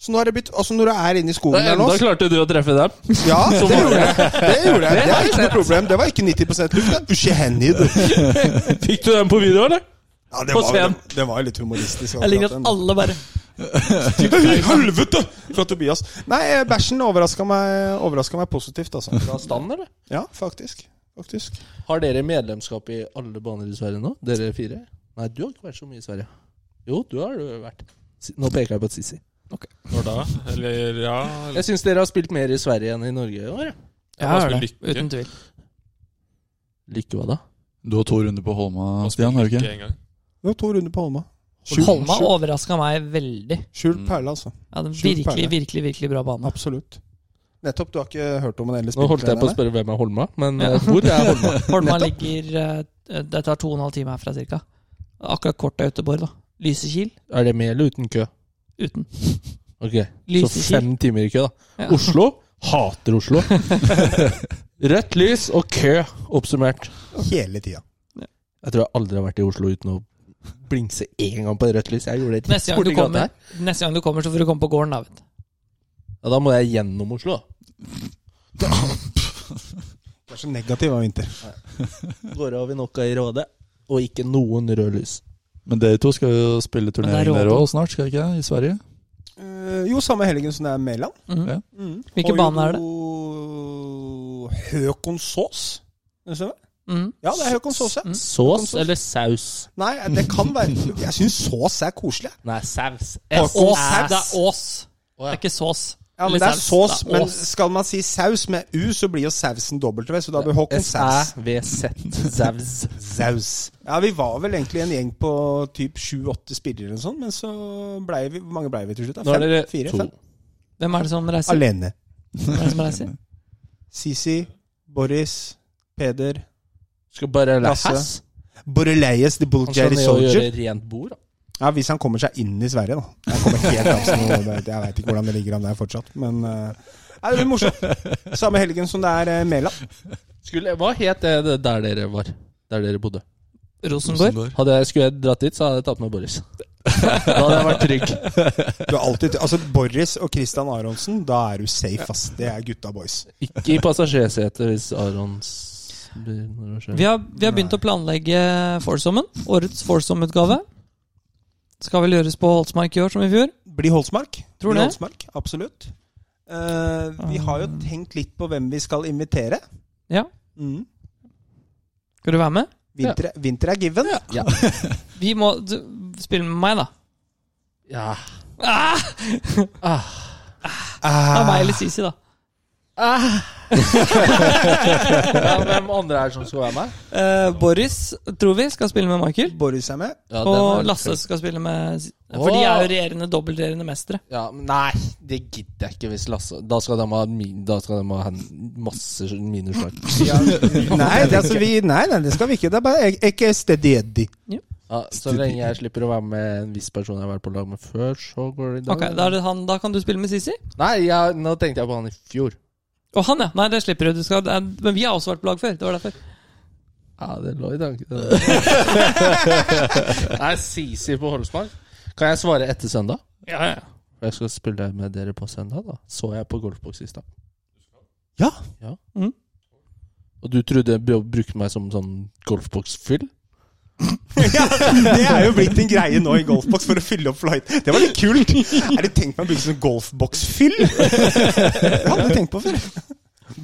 Speaker 5: Så nå er det blitt, altså når du er inne i skogen der nå
Speaker 4: Enda klarte du å treffe dem.
Speaker 5: Ja, det gjorde jeg. Det gjorde jeg. Det er ikke noe problem. Det var ikke 90 luft. Det er uskjehendig, du.
Speaker 4: Fikk du den på video, eller?
Speaker 5: Ja, det
Speaker 4: På
Speaker 5: var,
Speaker 4: Sveen.
Speaker 5: det, det var jo litt humoristisk.
Speaker 2: Jeg liker
Speaker 5: akkurat
Speaker 2: at
Speaker 5: den.
Speaker 2: alle bare
Speaker 5: I Helvete! Fra Tobias. Nei, eh, bæsjen overraska meg, overrasket meg positivt, altså.
Speaker 4: Fra stand, eller?
Speaker 5: Ja, faktisk. Faktisk.
Speaker 4: Har dere medlemskap i alle baner i Sverige nå? Dere fire? Nei, du har ikke vært så mye i Sverige. Jo, du har du vært. Si- Nå peker jeg på Sissi.
Speaker 3: Når da? Eller ja eller.
Speaker 4: Jeg syns dere har spilt mer i Sverige enn i Norge i år. ja.
Speaker 3: Ja,
Speaker 2: Ja,
Speaker 3: hva skal
Speaker 2: det.
Speaker 3: lykke?
Speaker 2: Uten tvil.
Speaker 4: Lykke hva da?
Speaker 1: Du har to runder på Holma,
Speaker 3: Hva
Speaker 1: Stian, har du ikke?
Speaker 3: lykke en gang.
Speaker 5: Det var to runder på Holma.
Speaker 2: Holma overraska meg veldig.
Speaker 5: skjult perle, altså.
Speaker 2: Ja, det er en
Speaker 5: Skjult
Speaker 2: virkelig,
Speaker 5: perle.
Speaker 2: virkelig virkelig bra bane.
Speaker 5: Absolutt. Nettopp. Du har ikke hørt om en ellers
Speaker 4: Nå holdt jeg på å spørre hvem er Holma, men eh, hvor er Holma?
Speaker 2: Holma ligger eh, Det tar to og en halv time herfra ca. Akkurat kort av Göteborg, da. Lysekil
Speaker 4: Er det med eller uten kø?
Speaker 2: uten.
Speaker 4: Ok, Så
Speaker 2: Lysekil.
Speaker 4: fem timer i kø, da.
Speaker 2: Ja.
Speaker 4: Oslo hater Oslo. Rødt lys og kø, oppsummert.
Speaker 5: Hele tida.
Speaker 4: Jeg tror jeg aldri har vært i Oslo uten å blingse én gang på rødt lys. Jeg gjorde det
Speaker 2: Neste gang, du
Speaker 4: borti gata
Speaker 2: kommer, neste gang du kommer, så får du komme på gården, da. vet du.
Speaker 4: Ja, da må jeg gjennom Oslo. da.
Speaker 5: Du er så negativ av vinter.
Speaker 4: Går av i noe i Råde, og ikke noen rød lys.
Speaker 1: Men dere to skal jo spille turnering
Speaker 2: Men det er
Speaker 1: dere
Speaker 2: råd.
Speaker 1: òg snart, skal dere ikke det? I Sverige?
Speaker 5: Eh, jo, samme helgen som det er Mæland.
Speaker 2: Mhm.
Speaker 1: Ja.
Speaker 5: Mm.
Speaker 2: Hvilken bane er det?
Speaker 5: Høkonsås. Stemmer det?
Speaker 2: Mhm.
Speaker 5: Ja, det er Høkonsås, ja.
Speaker 2: Mm.
Speaker 4: Sås eller saus?
Speaker 5: Nei, det kan være Jeg syns sås er koselig.
Speaker 4: Nei, saus.
Speaker 5: Ås.
Speaker 2: Ås.
Speaker 5: Saus.
Speaker 2: Det er Ås. Det er ikke sås.
Speaker 5: Ja, men
Speaker 2: Eller
Speaker 5: det er
Speaker 2: saus.
Speaker 5: sås,
Speaker 2: Det er
Speaker 5: men
Speaker 2: ås.
Speaker 5: skal man si saus med U, så blir jo sausen W, så da blir Håkonsaus.
Speaker 4: S-æ-v-z. Saus.
Speaker 5: Saus. Ja, vi var vel egentlig en gjeng på typ sju-åtte spillere eller sånn, men så blei vi Hvor mange blei vi til slutt? da?
Speaker 4: Nå er dere
Speaker 5: fire,
Speaker 4: to.
Speaker 5: fem?
Speaker 2: Hvem er det som reiser?
Speaker 5: Alene.
Speaker 2: Hvem er det som reiser?
Speaker 5: Sisi, Boris, Peder
Speaker 4: Skal bare
Speaker 5: Lasse.
Speaker 4: læres.
Speaker 5: Borreleis the
Speaker 4: Han skal
Speaker 5: Bulgari
Speaker 4: ned og
Speaker 5: Soldier.
Speaker 4: gjøre rent bord. da.
Speaker 5: Ja, Hvis han kommer seg inn i Sverige, da. Jeg kommer helt av som noe, Jeg veit ikke hvordan det ligger an der fortsatt, men eh, Nei, det blir morsomt. Samme helgen som det er uh, Mæland.
Speaker 4: Skulle, hva het det det der dere var? der dere bodde.
Speaker 2: Rosenborg.
Speaker 4: Hadde jeg, skulle jeg dratt dit, så hadde jeg tatt med Boris. Da hadde jeg vært trygg.
Speaker 5: Du er alltid, altså Boris og Christian Aronsen, da er du safe, ass. Det er gutta boys.
Speaker 4: Ikke i passasjersetet hvis Arons blir når det skjer.
Speaker 2: Vi har, vi har begynt å planlegge Forsommen. Årets Forsom-utgave. Skal vel gjøres på Holtsmark i år, som i fjor.
Speaker 5: Bli Holsmark.
Speaker 2: Tror
Speaker 5: Bli
Speaker 2: det.
Speaker 5: Holsmark, Absolutt. Eh, vi har jo tenkt litt på hvem vi skal invitere.
Speaker 2: Ja.
Speaker 5: Mm.
Speaker 2: Skal du være med?
Speaker 5: Vinter, vinter er given.
Speaker 2: Vi må du, spille med meg, da.
Speaker 4: Ja.
Speaker 2: Ah, det
Speaker 5: Ah,
Speaker 2: er meg eller Sisi, da.
Speaker 4: ja, Hvem andre er det som skal være med?
Speaker 2: Eh, Boris tror vi skal spille med Michael.
Speaker 5: Boris er med.
Speaker 4: Ja, den
Speaker 2: og
Speaker 4: er-
Speaker 2: Lasse skal spille med Si- For de er jo regjerende dobbeltregjerende mestere.
Speaker 4: Ja, men Nei, det gidder jeg ikke hvis Lasse Da skal de ha, min, da skal de ha hen- masse minusslag.
Speaker 5: Nei, det, altså, vi, nei, nei, det skal vi ikke. Det er bare ek- ikke stedig.
Speaker 4: Ja, så lenge jeg slipper å være med en viss person jeg har vært på lag med før, så går det i dag.
Speaker 2: Ok, da, er det han, da kan du spille med Sisi.
Speaker 4: Nei, jeg, nå tenkte jeg på han i fjor.
Speaker 2: Og han, ja. Nei, det slipper du. du skal, det er, men vi har også vært på lag før. Det var derfor.
Speaker 4: Ja, det lå i tanken. Nei, Sisi på Holsmark. Kan jeg svare etter søndag?
Speaker 2: Ja, ja.
Speaker 4: Jeg skal spille med dere på søndag, da. Så jeg på golfboks i stad.
Speaker 5: Ja.
Speaker 4: ja.
Speaker 2: Mhm.
Speaker 4: Og du trodde jeg br- brukte meg som sånn golfboksfyll?
Speaker 5: Ja, det er jo blitt en greie nå i golfboks for å fylle opp flight. Det var litt kult. Er det tenkt meg å bruke sånn golfboksfyll? Det hadde jeg tenkt på før.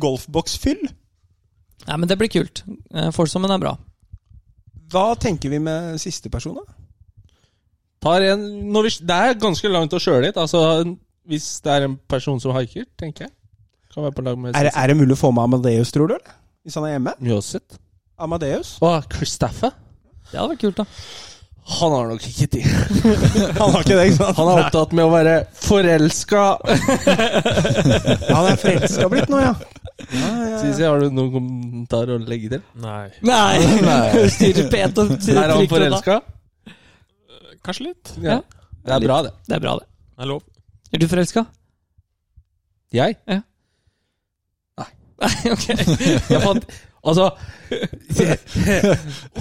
Speaker 5: Golfboksfyll?
Speaker 2: Nei, men det blir kult. Eh, Forsommen er bra.
Speaker 5: Hva tenker vi med siste person, da?
Speaker 4: Tar en, når vi, det er ganske langt å kjøre dit. Altså, hvis det er en person som haiker, tenker jeg. Kan være på lag med
Speaker 5: Er det, er det mulig å få med Amadeus, tror du? eller? Hvis han er hjemme?
Speaker 4: Mjåseth.
Speaker 5: Amadeus?
Speaker 4: Å, Christaffe.
Speaker 2: Det hadde vært kult, da.
Speaker 4: Han har nok ikke tid.
Speaker 5: Han har ikke det, ikke sant?
Speaker 4: Han er opptatt med å være forelska.
Speaker 5: Han er forelska blitt nå, ja.
Speaker 4: Sisi, har du noen kommentarer å legge til?
Speaker 3: Nei.
Speaker 2: Nei! Styrer pent og
Speaker 4: Er han
Speaker 2: trykker unna.
Speaker 4: forelska?
Speaker 3: Kanskje litt.
Speaker 2: Ja.
Speaker 4: Det er bra, det.
Speaker 2: Det er bra, det.
Speaker 3: Det er lov.
Speaker 2: Er du forelska?
Speaker 4: Jeg?
Speaker 2: Ja.
Speaker 4: Nei.
Speaker 2: ok.
Speaker 4: Jeg fant Altså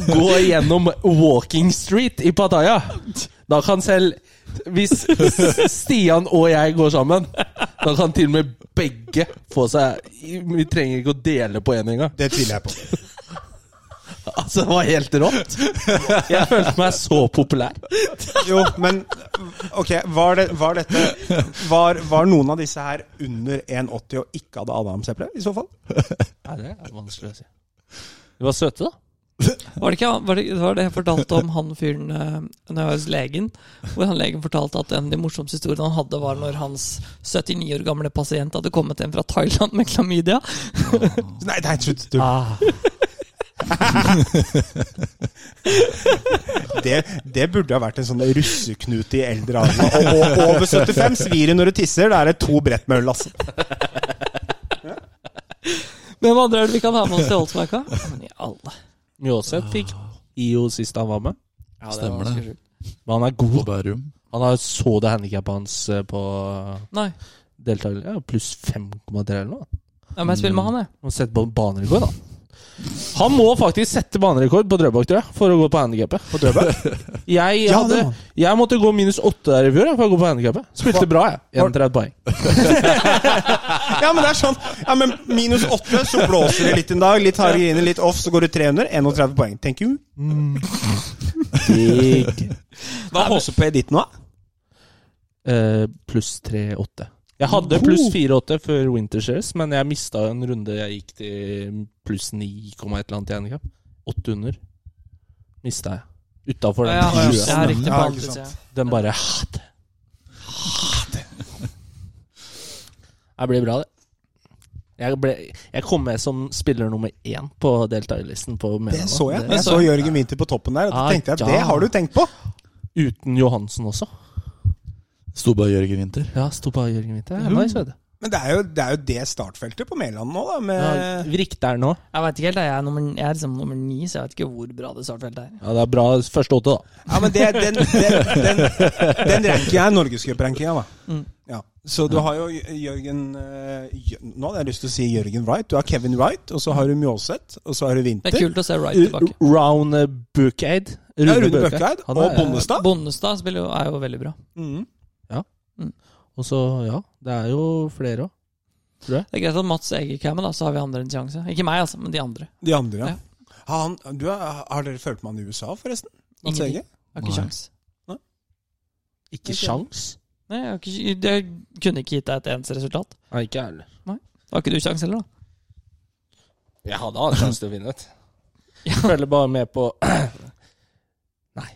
Speaker 4: Gå gjennom Walking Street i Pattaya. Da kan selv Hvis Stian og jeg går sammen, da kan til og med begge få seg Vi trenger ikke å dele på én engang.
Speaker 5: Det tviler jeg på.
Speaker 4: Altså, det var helt rått. Jeg følte meg så populær.
Speaker 5: Jo, men ok, var, det, var dette var, var noen av disse her under 1,80 og ikke hadde adamseple, i så fall?
Speaker 4: Nei, det er vanskelig å si. De var søte, da.
Speaker 2: Var det ikke han- var det, var det jeg fortalte om han fyren eh, når jeg var hos legen? Hvor han legen fortalte at en av de morsomste historiene han hadde, var når hans 79 år gamle pasient hadde kommet hjem fra Thailand med klamydia.
Speaker 5: Nei, nei, slutt. Du,
Speaker 4: Ah.
Speaker 5: det, det burde ha vært en sånn russeknute i eldre alder. Og, og over 75 svir det når du tisser. Da er det to brett med øl, altså.
Speaker 2: Hvem andre er det vi kan ha med oss til Holtsmarka? Ja, Men i alle
Speaker 4: Mjåseth fikk IO sist han var med.
Speaker 1: Stemmer det.
Speaker 4: Men han er
Speaker 1: På
Speaker 4: god.
Speaker 1: Bærum.
Speaker 4: Han har så det handikappet hans eh, på
Speaker 2: Nei.
Speaker 4: deltaker ja, pluss 5,3 eller noe.
Speaker 2: Ja, men jeg spiller med han, jeg.
Speaker 4: Han setter på banerekord, da. Han må faktisk sette banerekord på Drøbak, tror jeg, for å gå på handikappet. På Drøbak. Jeg,
Speaker 5: Ja,
Speaker 4: hadde,
Speaker 5: det må han.
Speaker 4: jeg måtte gå minus 8 der i fjor jeg, for å gå på handikappet. Spilte bra, jeg. 31 poeng.
Speaker 5: Ja, men det er sånn. Ja, men minus 8, så blåser det litt en dag. Litt harde griner, litt off, så går du 300. 31 poeng. Thank you.
Speaker 4: Digg.
Speaker 5: Hva er HCP ditt nå, da?
Speaker 4: Eh, pluss 3,8. Jeg hadde pluss 4,8 før Wintershares, men jeg mista en runde jeg gikk til pluss 9, et eller annet i handikap. 800 mista jeg. Utafor
Speaker 2: Ja,
Speaker 4: den.
Speaker 2: ja, ja,
Speaker 4: sjua.
Speaker 2: jeg har riktig på
Speaker 5: Ja,
Speaker 2: alt,
Speaker 5: ikke
Speaker 2: synes
Speaker 5: sant.
Speaker 2: jeg.
Speaker 4: Den bare hat. Det blir bra, det. Jeg, ble, jeg kom med som spiller nummer én på deltakerlisten. på
Speaker 5: Det
Speaker 4: Mena nå.
Speaker 5: så jeg.
Speaker 4: Det-
Speaker 5: Jeg så Jørgen Winther på toppen der, og da tenkte jeg at det har du tenkt på.
Speaker 4: Uten Johansen også.
Speaker 1: Sto bare Jørgen Winther.
Speaker 4: Ja, sto bare Jørgen Winther. Ja, nice, vet du.
Speaker 5: Men det er jo det, er jo det startfeltet på Mæland nå, da.
Speaker 4: Ja,
Speaker 5: Med
Speaker 4: Vrik der nå.
Speaker 2: Jeg vet ikke helt, jeg er, nummer, jeg er liksom nummer ni, så jeg vet ikke hvor bra det startfeltet er.
Speaker 4: Ja, Det er bra første åtte, da.
Speaker 2: Mm.
Speaker 5: Ja, men det, den, den, den, den ranker jeg norgescuprankinga, da. Ja. Så du har jo Jørgen eh, Jø- Nå hadde jeg lyst til å si Jørgen Wright. Du har Kevin Wright, og så har du Mjåseth, og så har du
Speaker 2: Det er
Speaker 5: Winther.
Speaker 2: kult å se Wright tilbake.
Speaker 4: Round Bookaid.
Speaker 5: Ja, Rune Bøkkeid og Bondestad.
Speaker 2: Bondestad spiller jo, er jo veldig bra.
Speaker 5: Mhm.
Speaker 4: Og så, ja. Det er jo flere òg.
Speaker 2: Det er greit at Mats Eger kommer, da, så har vi andre en sjanse. Ikke meg, altså, men de andre.
Speaker 5: De andre, ja.
Speaker 2: Ja.
Speaker 5: Har Han, du, har har dere følt med han i USA, forresten? Mats
Speaker 2: Ingenting.
Speaker 5: Ege?
Speaker 2: Har ikke
Speaker 1: Nei.
Speaker 2: sjans.
Speaker 4: Ikke sjans.
Speaker 2: Nei, jeg, har ikke, jeg kunne ikke gitt deg et eneste resultat.
Speaker 4: Nei, ikke jeg heller.
Speaker 2: Har ikke du sjans heller, da?
Speaker 4: Jeg hadde hatt sjanse til å vinne, vet du. Jeg Følger bare med på Nei.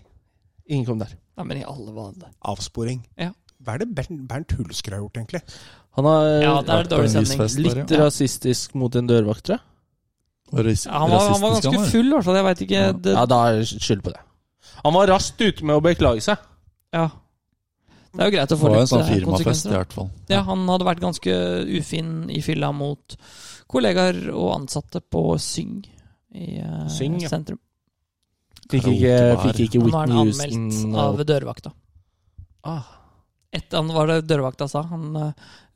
Speaker 4: Ingen kom der.
Speaker 2: Nei, men i alle vanlige.
Speaker 5: Avsporing.
Speaker 2: Ja.
Speaker 5: Hva er det Bernt, Bernt Hulsker har gjort, egentlig?
Speaker 4: Han har
Speaker 2: Ja, det er
Speaker 1: Vært på en
Speaker 2: dårlig
Speaker 1: viss
Speaker 2: sending.
Speaker 1: fest der,
Speaker 4: litt
Speaker 1: ja.
Speaker 4: rasistisk mot en dørvakt, tror jeg.
Speaker 1: Og ras-
Speaker 2: Ja, han, var, han var
Speaker 1: rasistisk,
Speaker 2: ganske
Speaker 1: han,
Speaker 2: full, i hvert fall. Jeg veit ikke
Speaker 1: Ja.
Speaker 2: det,
Speaker 4: Ja, da er det skyld på det. Han var raskt ute med å beklage seg.
Speaker 2: ja. det er jo greit å
Speaker 1: Det
Speaker 2: få
Speaker 1: var en
Speaker 2: litt
Speaker 1: sånn
Speaker 2: eh,
Speaker 1: firmafest,
Speaker 2: konsekvenser.
Speaker 1: i
Speaker 2: da.
Speaker 1: hvert fall.
Speaker 2: Ja, han hadde vært ganske ufin i fylla mot kollegaer og ansatte på Syng i eh,
Speaker 4: Syng, ja.
Speaker 2: sentrum.
Speaker 4: Fikk
Speaker 1: Karaoke
Speaker 4: ikke,
Speaker 1: bar.
Speaker 4: fikk ikke
Speaker 2: Han var
Speaker 4: Whitney
Speaker 2: anmeldt
Speaker 4: Houston og
Speaker 2: av dørvakta.
Speaker 4: ah,
Speaker 2: Etter han var det dørvakta sa. Han eh,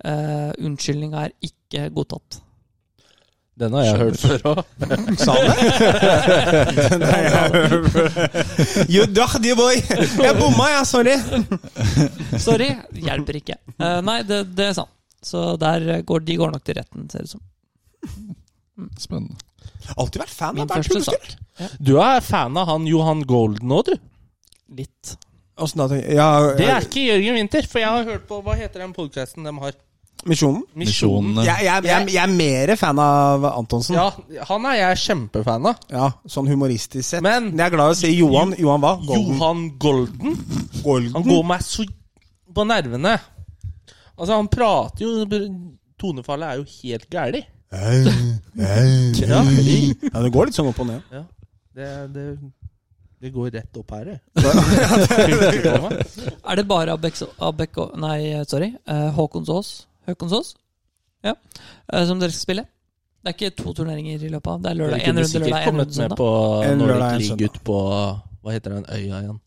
Speaker 2: eh, Unnskyldninga er ikke godtatt.
Speaker 4: Den har jeg hørt før òg.
Speaker 5: Sa han det? Nei, jeg- you dirty boy! Jeg bomma, jeg. Sorry.
Speaker 2: Sorry, hjelper ikke. Eh, nei, det, det sa han. Så der går, de går nok til retten, ser det ut som.
Speaker 1: Spennende.
Speaker 5: Alltid vært fan
Speaker 2: Min
Speaker 5: av Bernt
Speaker 2: første sak.
Speaker 5: Hulsker.
Speaker 4: Du er fan av han Johan Golden nå, du.
Speaker 2: Litt.
Speaker 5: Åssen da? tenker jeg- Ja,
Speaker 4: Det er ikke Jørgen Winther, for jeg har hørt på Hva heter den podkasten de har?
Speaker 5: eh, Misjonen?
Speaker 1: Misjonene.
Speaker 5: Jeg, jeg, jeg, jeg er mer fan av Antonsen.
Speaker 4: Ja, han er jeg kjempefan av.
Speaker 5: Ja, Sånn humoristisk sett.
Speaker 4: Men-
Speaker 5: jeg er glad i å si Johan. Johan hva? Golden.
Speaker 4: Johan Golden? Han går meg så på nervene. Altså, han prater jo Tonefallet er jo helt gæli. Ja.
Speaker 5: Ja, det går litt sånn opp og ned.
Speaker 4: Det, det, det går rett opp her, det.
Speaker 2: Er det bare Abek, Abek Nei, sorry. eh, Håkonsås Håkonsås? Ja. eh, som dere skal spille? Det er ikke to turneringer i løpet av. Det er lørdag. En runde lørdag, en runde
Speaker 4: med
Speaker 2: søndag.
Speaker 4: på
Speaker 5: En lørdag,
Speaker 4: Nordic
Speaker 5: en
Speaker 4: League
Speaker 5: søndag.
Speaker 4: ut på Hva heter den øya igjen?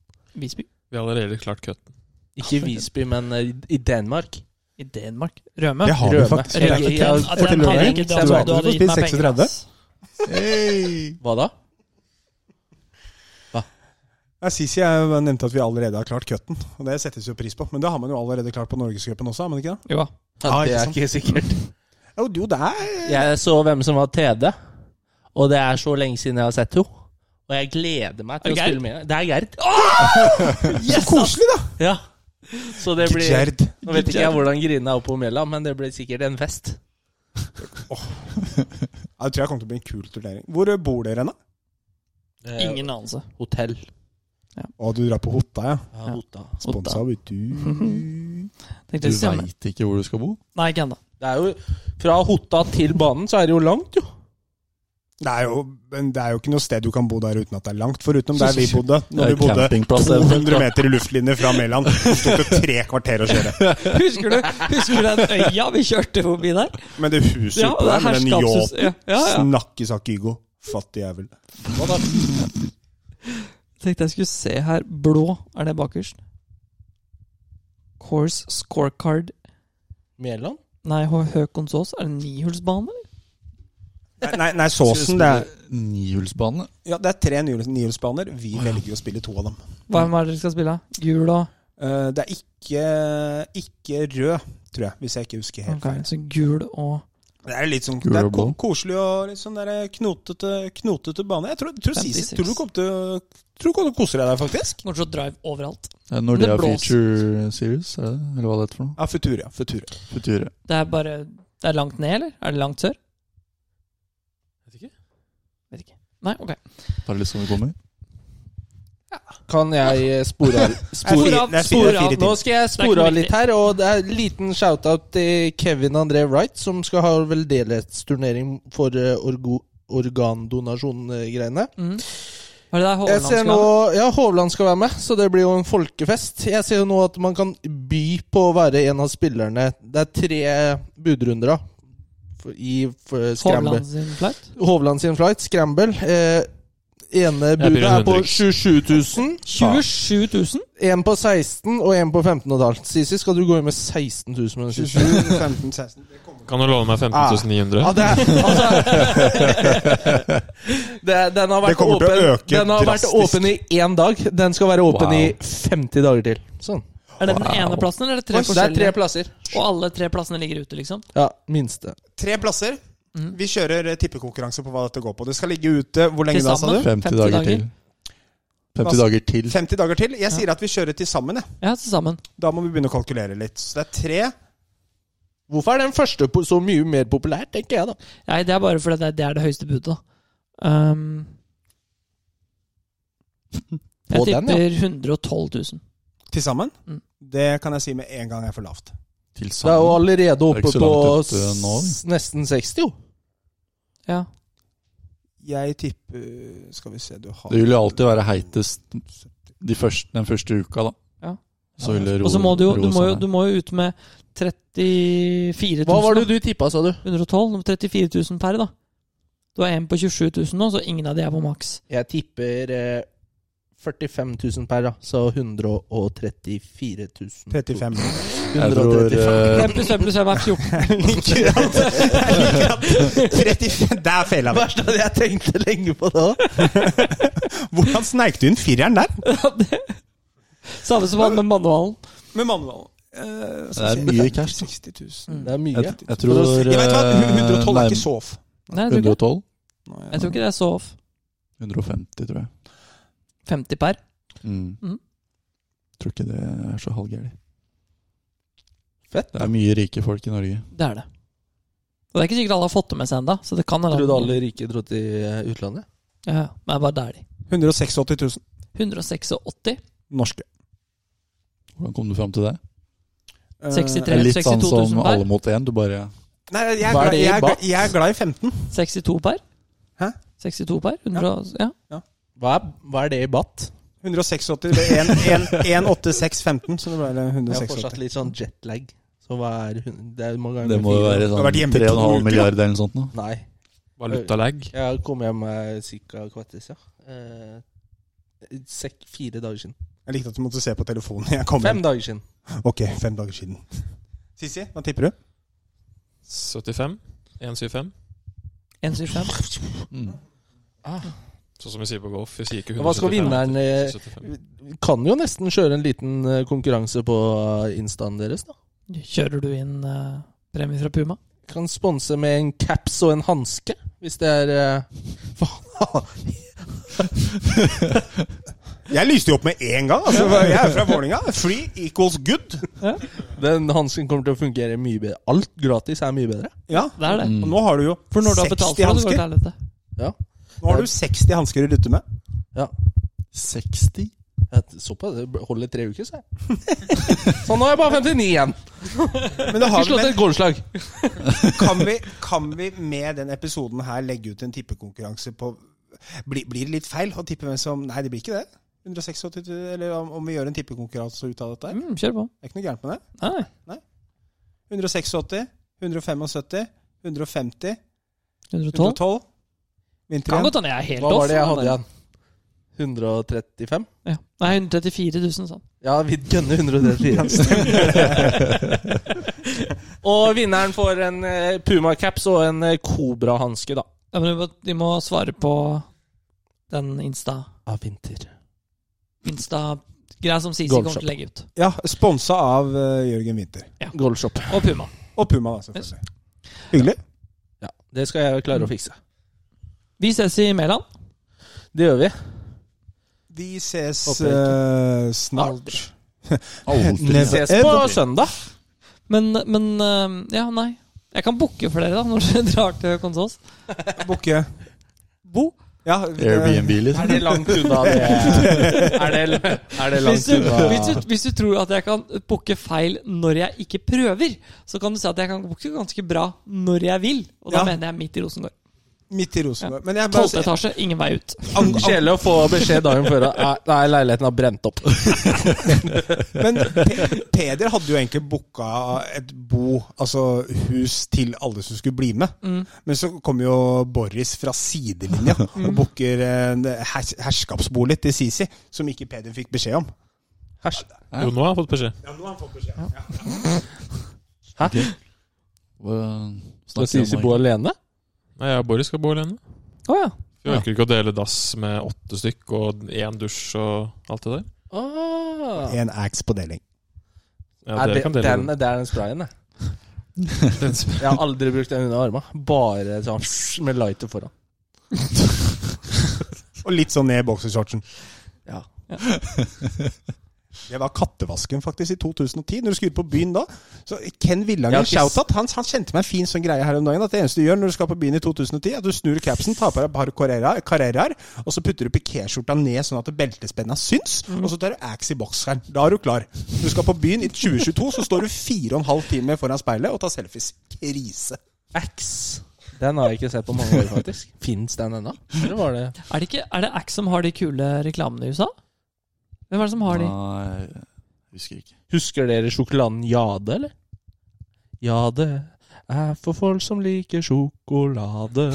Speaker 2: Visby.
Speaker 3: Vi har allerede klart cutten.
Speaker 4: Ikke Visby, men eh, i Danmark.
Speaker 2: I Danmark. Røme.
Speaker 5: Det har vi
Speaker 4: Røme.
Speaker 5: faktisk.
Speaker 4: Røme.
Speaker 5: Det er ikke
Speaker 4: Ja, at
Speaker 5: kødd. For til
Speaker 4: den tar jeg
Speaker 5: lørdag.
Speaker 4: ikke.
Speaker 5: Du vet at du får spist 36.
Speaker 4: Hva da?
Speaker 5: Ja, Sisi jeg nevnte at vi allerede har klart cutten, og det settes jo pris på. Men det har man jo allerede klart på Norgescupen også, har man ikke det?
Speaker 2: Jo da.
Speaker 5: Ah,
Speaker 4: det
Speaker 5: ikke
Speaker 4: er
Speaker 5: sant.
Speaker 4: ikke sikkert.
Speaker 5: Jo, jo, det er
Speaker 4: Jeg så hvem som var TD, og det er så lenge siden jeg har sett henne. Og jeg gleder meg
Speaker 2: Er
Speaker 4: til å
Speaker 2: det Gerd?
Speaker 4: spille med henne. Det er Gerd.
Speaker 5: så koselig, da!
Speaker 4: Ja. Så det blir
Speaker 5: Gerd.
Speaker 4: Nå vet ikke jeg hvordan Grine er oppe på Mjella, men det blir sikkert en fest.
Speaker 5: Ja, det tror jeg kommer til å bli en kul turnering. Hvor eh, bor dere hen, da?
Speaker 4: Eh,
Speaker 2: Ingen anelse.
Speaker 4: Hotell.
Speaker 5: Å, du drar på Hotta, ja.
Speaker 4: Ja,
Speaker 2: Ja.
Speaker 4: Hota.
Speaker 5: Sponsa av du.
Speaker 2: Tenkte
Speaker 1: Du
Speaker 2: jeg skulle si,
Speaker 1: veit ikke hvor du skal bo?
Speaker 2: Nei, ikke ennå.
Speaker 4: Det er jo Fra Hota til banen så er det jo langt, jo.
Speaker 5: Det er, jo, men det er jo ikke noe sted du kan bo der uten at det er langt, foruten der vi bodde. Når vi
Speaker 1: Det er
Speaker 5: bodde
Speaker 1: campingplass, det er
Speaker 5: 200 meter i luftlinje fra Mæland. Det tok det tre kvarter å kjøre.
Speaker 2: Husker du Husker du den øya vi kjørte forbi der?
Speaker 5: Men det huset
Speaker 2: Ja,
Speaker 5: oppå
Speaker 2: det
Speaker 5: der
Speaker 2: er
Speaker 5: med den
Speaker 2: herskapshus.
Speaker 5: yachten
Speaker 2: Ja, ja, ja.
Speaker 5: Snakkes av Kygo. Fattig jævel.
Speaker 2: Tenkte jeg skulle se her. Blå, er det bakerst? Course scorecard
Speaker 4: Mjælland?
Speaker 2: Nei, Hå- Håkonsås, er det nihullsbane?
Speaker 5: Nei, nei, nei Såsen, det er
Speaker 1: Nihjulsbane.
Speaker 5: Ja, det er tre nihjuls- nihjulsbaner. Vi velger å spille to av dem.
Speaker 2: Hva er det dere skal spille? av? Gul og
Speaker 5: Eh, Det er ikke, ikke rød, tror jeg, hvis jeg ikke husker helt
Speaker 2: Ok,
Speaker 5: feil.
Speaker 2: Så gul og
Speaker 5: Det er litt sånn
Speaker 1: Gul
Speaker 5: det er
Speaker 1: og
Speaker 5: ko
Speaker 1: blå.
Speaker 5: koselig og litt sånn der knotete, knotete bane. Jeg tror, tror, Sisi,
Speaker 2: 56.
Speaker 5: tror du kommer til å- tror du kommer til å kose deg der, faktisk.
Speaker 2: Kommer til å drive overalt.
Speaker 1: Det er Eh, Nordea
Speaker 2: Det blåser.
Speaker 1: Feature Series, er det? eller hva det heter for noe?
Speaker 5: Ja, Futura. Futura.
Speaker 1: Future.
Speaker 2: Det er bare Det er langt ned, eller? Er det langt sør?
Speaker 3: Vet ikke.
Speaker 2: Vet ikke. Nei, ok.
Speaker 1: Tar det litt som det kommer.
Speaker 4: Kan jeg eh, spore av
Speaker 5: Det
Speaker 4: spore
Speaker 5: er
Speaker 4: av?
Speaker 5: fire- det er fire-
Speaker 2: spor
Speaker 5: det er
Speaker 2: av.
Speaker 5: fire
Speaker 4: Nå
Speaker 5: timer.
Speaker 4: skal jeg
Speaker 2: Det er
Speaker 4: spore
Speaker 2: ikke
Speaker 4: av litt her, og det er en liten shout-out til Kevin André Wright, som skal ha veldedighetsturnering for eh, orgo- organdonasjon-greiene.
Speaker 2: Mm. Hva er det der
Speaker 4: Jeg
Speaker 2: Håland
Speaker 4: ser
Speaker 2: skal
Speaker 4: nå
Speaker 2: ha?
Speaker 4: Ja, Hovland skal være med, så det blir jo en folkefest. Jeg ser jo nå at man kan by på å være en av spillerne. Det er tre budrunder da, for- i for- Scramble.
Speaker 2: Hovland sin flight?
Speaker 4: Hovland sin flight, Scramble. Eh, ene
Speaker 3: blir
Speaker 4: budet er på
Speaker 3: Henrik.
Speaker 4: 27 000.
Speaker 2: 27 000?
Speaker 4: En på 16 og en på 15 og et halvt. Sisi, skal du gå inn med 16 000 med den siste?
Speaker 5: 27, 15, 16 det kommer.
Speaker 3: Kan du
Speaker 4: Ah.
Speaker 3: låne meg 15.900?
Speaker 4: Ja, det er, altså, det, den har vært
Speaker 5: Det kommer til å
Speaker 4: åpen,
Speaker 5: øke
Speaker 4: Den har vært
Speaker 5: drastisk.
Speaker 4: åpen i én dag. Den skal være åpen
Speaker 1: Wow.
Speaker 4: i 50 dager til. Sånn.
Speaker 2: Er det den ene plassen, eller er det tre
Speaker 4: Oi, så det er tre
Speaker 2: forskjellige?
Speaker 4: plasser.
Speaker 2: Og alle tre plassene ligger ute, liksom?
Speaker 4: Ja, minste.
Speaker 5: Tre plasser.
Speaker 2: Mm.
Speaker 5: Vi kjører eh, tippekonkurranse på hva dette går på. Det skal ligge ute hvor lenge
Speaker 2: Til
Speaker 5: da, sa
Speaker 2: sammen?
Speaker 5: du?
Speaker 1: 50, dager,
Speaker 2: dager.
Speaker 1: til. 50 dager til.
Speaker 5: 50 dager til. Jeg sier at vi kjører til sammen. jeg.
Speaker 2: Ja, til sammen.
Speaker 5: Da må vi begynne å kalkulere litt. Så det er tre.
Speaker 4: Hvorfor er den første po- så mye mer populær, tenker jeg da.
Speaker 2: Nei, det er bare fordi det er det, er det høyeste budet, da. Um, jeg
Speaker 4: På den, ja.
Speaker 2: tipper 112 000.
Speaker 5: Til sammen?
Speaker 2: Mm.
Speaker 5: Det kan jeg si med en gang er for lavt.
Speaker 1: Til
Speaker 4: Det er jo
Speaker 1: sammen.
Speaker 4: allerede
Speaker 1: Det er
Speaker 4: oppe
Speaker 1: ikke så
Speaker 4: på
Speaker 1: langt ute nå.
Speaker 4: s- nesten 60, jo.
Speaker 2: Ja.
Speaker 5: Jeg tipper Skal vi se du har
Speaker 1: Det vil jo alltid være heitest de første, den første uka, da.
Speaker 2: Ja.
Speaker 1: Så vil det ro
Speaker 2: Og så må du jo, du
Speaker 1: roe
Speaker 2: må jo,
Speaker 1: seg
Speaker 2: du må jo ut med 34 000.
Speaker 4: Hva var det du tippa, sa du?
Speaker 2: 112, om 34 000 per, da. Du har en på 27 000 nå, så ingen av de er på maks.
Speaker 4: Jeg tipper eh, 45 000 per, da. Så 134 000.
Speaker 5: 35.
Speaker 1: Jeg
Speaker 4: 135.
Speaker 1: tror eh,
Speaker 2: 5 pluss 5 pluss 5 er 14.
Speaker 5: Jeg liker at- jeg liker at 35 Der feila vi.
Speaker 4: Verst at jeg tenkte lenge på det òg.
Speaker 5: Hvordan sneik du inn fireren der?
Speaker 2: Samme som han med manualen.
Speaker 5: Med manualen.
Speaker 1: Det er mye cash, da.
Speaker 5: 60
Speaker 2: Mm.
Speaker 5: 000.
Speaker 4: Det er
Speaker 1: jeg,
Speaker 4: mye.
Speaker 1: jeg tror
Speaker 5: Jeg vet hva, 112 er
Speaker 1: nærm-
Speaker 5: ikke så off.
Speaker 2: Nei, jeg tror, ikke.
Speaker 1: 112?
Speaker 5: Nei,
Speaker 2: jeg tror ikke det er så off.
Speaker 1: 150, tror jeg.
Speaker 2: 50 per.
Speaker 1: Mm.
Speaker 2: Mm.
Speaker 1: Tror ikke det er så halvgærent.
Speaker 4: Fett.
Speaker 1: Det er mye rike folk i Norge.
Speaker 2: Det er det. Og det er ikke sikkert alle har fått det med seg ennå. Så det kan hende-
Speaker 4: Trodde alle rike dro til eh, utlandet?
Speaker 2: Ja, ja. men det er bare der, de.
Speaker 5: 186 000
Speaker 2: 186.
Speaker 5: norske.
Speaker 1: Hvordan kom du fram til det?
Speaker 5: Eh,
Speaker 2: 63.
Speaker 1: Det er litt sånn
Speaker 2: 62 000
Speaker 1: som
Speaker 2: per.
Speaker 1: alle mot én. Du bare
Speaker 5: Nei, jeg, er
Speaker 4: Hva er
Speaker 5: glad-
Speaker 4: det i
Speaker 5: jeg, er
Speaker 4: baht?
Speaker 5: glad- jeg er glad i 15.
Speaker 2: 62 per.
Speaker 5: Hæ?
Speaker 2: 62 per. 100, og- ja.
Speaker 4: Hva er, hva er det i baht?
Speaker 5: 186 ble 18615, så det ble det
Speaker 4: Jeg har
Speaker 5: 186.
Speaker 4: fortsatt litt sånn jetlag. Så hva er hun- Det er mange ganger
Speaker 1: Det må jo
Speaker 4: fire.
Speaker 1: være
Speaker 5: Du har
Speaker 1: sånn
Speaker 5: vært hjemme i to
Speaker 1: 3,5
Speaker 5: uker, da.
Speaker 1: milliarder eller noe sånt nå.
Speaker 4: Nei.
Speaker 3: Valutalag.
Speaker 4: Jeg kom hjem ca. kvartis, ja. Eh, sek, fire dager siden.
Speaker 5: Jeg likte at du måtte se på telefonen. Jeg kom
Speaker 4: Fem
Speaker 5: inn.
Speaker 4: dager siden.
Speaker 5: Ok, fem dager siden. Sissi, hva tipper du?
Speaker 3: 75? 175?
Speaker 2: 175.
Speaker 1: Mm.
Speaker 3: Sånn som vi sier på golf. Vi sier ikke
Speaker 4: Hva skal
Speaker 3: 175,
Speaker 4: vinneren, eh,
Speaker 3: 75.
Speaker 4: Vi kan jo nesten kjøre en liten eh, konkurranse på eh, instaen deres, da.
Speaker 2: Kjører du inn eh, premie fra Puma?
Speaker 4: Kan sponse med en caps og en hanske, hvis det er eh, Faen!
Speaker 5: Jeg lyste jo opp med en gang. Altså, jeg er fra Vålinga. Free equals good.
Speaker 4: Den hansken kommer til å fungere mye bedre. Alt gratis er mye bedre.
Speaker 5: Ja,
Speaker 2: Det er det.
Speaker 1: Mm.
Speaker 5: Og nå har du jo
Speaker 2: For når du har betalt
Speaker 5: 60
Speaker 2: for det, så går det til
Speaker 5: hansker.
Speaker 2: helvete.
Speaker 4: Ja.
Speaker 5: Nå har du 60 hansker å rutte med.
Speaker 4: ja.
Speaker 1: 60?
Speaker 4: Jeg så på det. Det holder tre uker, sa jeg. Så nå er jeg bare 59 igjen.
Speaker 5: Men,
Speaker 4: Ikke
Speaker 5: det har,
Speaker 4: slått
Speaker 5: men
Speaker 4: et gårdslag.
Speaker 5: kan, vi, kan vi med den episoden her legge ut en tippekonkurranse på blir, blir det litt feil å tippe hvem som Nei, det blir ikke det. 186 Eller om, om vi gjør en tippekonkurranse ut av dette her.
Speaker 2: Mm, kjør på.
Speaker 5: Det er ikke noe gærent med det.
Speaker 2: Nei.
Speaker 5: 186, 175, 150,
Speaker 2: 112.
Speaker 5: 112. Vinter
Speaker 2: Kan
Speaker 5: igjen.
Speaker 2: godt hende jeg er helt
Speaker 4: Hva
Speaker 2: off.
Speaker 4: var det jeg
Speaker 2: men-
Speaker 4: hadde igjen? 135?
Speaker 2: Ja. Nei, 134 000, sånn.
Speaker 4: Ja, vi gønner 134. og vinneren får en eh, Puma-caps og en Kobra-hanske, da.
Speaker 2: Ja, men vi må, vi må svare på den Insta.
Speaker 4: Av vinter.
Speaker 2: Insta-greia som Sisi
Speaker 4: Gold
Speaker 2: kommer
Speaker 4: shop.
Speaker 2: til å legge ut.
Speaker 5: Ja, sponsa av eh, Jørgen Winther.
Speaker 4: Goldshop.
Speaker 2: Og Puma.
Speaker 5: Og Puma, da, selvfølgelig. Hyggelig.
Speaker 4: Ja, det skal jeg klare å fikse.
Speaker 2: Vi ses i Mæland.
Speaker 4: Det gjør vi.
Speaker 5: Vi ses
Speaker 4: Håper jeg
Speaker 5: eh, snart.
Speaker 4: Aldri. Vi
Speaker 1: Aldri.
Speaker 5: Never
Speaker 4: ses på
Speaker 5: ever.
Speaker 4: søndag.
Speaker 2: Men, men øhm, Ja, nei. Jeg kan booke for dere da, når dere drar til Konsås.
Speaker 5: Bukke.
Speaker 2: Bo.
Speaker 5: Ja,
Speaker 1: Airbnb,
Speaker 4: Er
Speaker 1: liksom.
Speaker 4: det langt unna det Er det, er det
Speaker 2: Hvis
Speaker 4: langt
Speaker 2: du, hvis,
Speaker 4: unna
Speaker 2: du, hvis du tror at jeg kan booke feil når jeg ikke prøver, så kan du si at jeg kan booke ganske bra når jeg vil. Og da
Speaker 5: Ja.
Speaker 2: mener jeg midt i Rosengård.
Speaker 5: Midt i Rosenborg. Men jeg
Speaker 2: Tolvte
Speaker 5: bare,
Speaker 2: etasje, ingen vei ut.
Speaker 5: ang, ang,
Speaker 4: Kjedelig å få beskjed dagen før at "Nei, nei, leiligheten har brent opp.
Speaker 5: Men Pe Peder hadde jo egentlig booka et bo, altså hus, til alle som skulle bli med.
Speaker 2: Mm.
Speaker 5: Men så kommer jo Boris fra sidelinja og booker en hers herskapsbolig til Sisi, som ikke Peder fikk beskjed om.
Speaker 3: Jo, nå har jeg fått beskjed.
Speaker 5: Ja, nå har han fått beskjed.
Speaker 1: Hva-
Speaker 4: Så
Speaker 1: snakker
Speaker 4: sier
Speaker 1: vi
Speaker 4: de
Speaker 1: om
Speaker 4: bor
Speaker 1: nå?
Speaker 4: alene.
Speaker 3: Nei, jeg og Boris skal bo alene.
Speaker 2: Å ja.
Speaker 3: Vi orker ikke å dele dass med åtte stykk og én dusj og alt det der.
Speaker 4: Ah.
Speaker 5: En ax på deling.
Speaker 3: Ja,
Speaker 4: Nei,
Speaker 3: dere
Speaker 4: det,
Speaker 3: kan dele
Speaker 4: den,
Speaker 3: den.
Speaker 4: det er den sprayen, jeg. Jeg har aldri brukt den under arma. Bare sånn med lighter foran.
Speaker 5: Og litt sånn ned i boksershortsen.
Speaker 4: Ja.
Speaker 5: Det var kattevasken faktisk i 2010, når du skulle ut på byen da. Så Ken
Speaker 4: Ja,
Speaker 5: Villanger,
Speaker 4: ikke s-
Speaker 5: shout-out, han, han kjente meg en fin sånn greie her om dagen. At det eneste du gjør når du skal på byen i 2010, er at du snur capsen, tar på deg et par carreraer- carreraer, og så putter du pikéskjorta ned sånn at beltespenna syns, og så tar du ax i bokseren. Da er du klar. Du skal på byen i 2022, så står du fire og en halv time foran speilet og tar selfies. Krise.
Speaker 4: Axe. Den har jeg ikke sett på mange år, faktisk. Fins den ennå? Eller var det
Speaker 2: Er det, ikke, er det Axe som har de kule reklamene i USA? Hvem er det som har de?
Speaker 1: Nei, jeg husker ikke.
Speaker 4: Husker dere sjokoladen Jade, eller? Jade er for folk som liker sjokolade.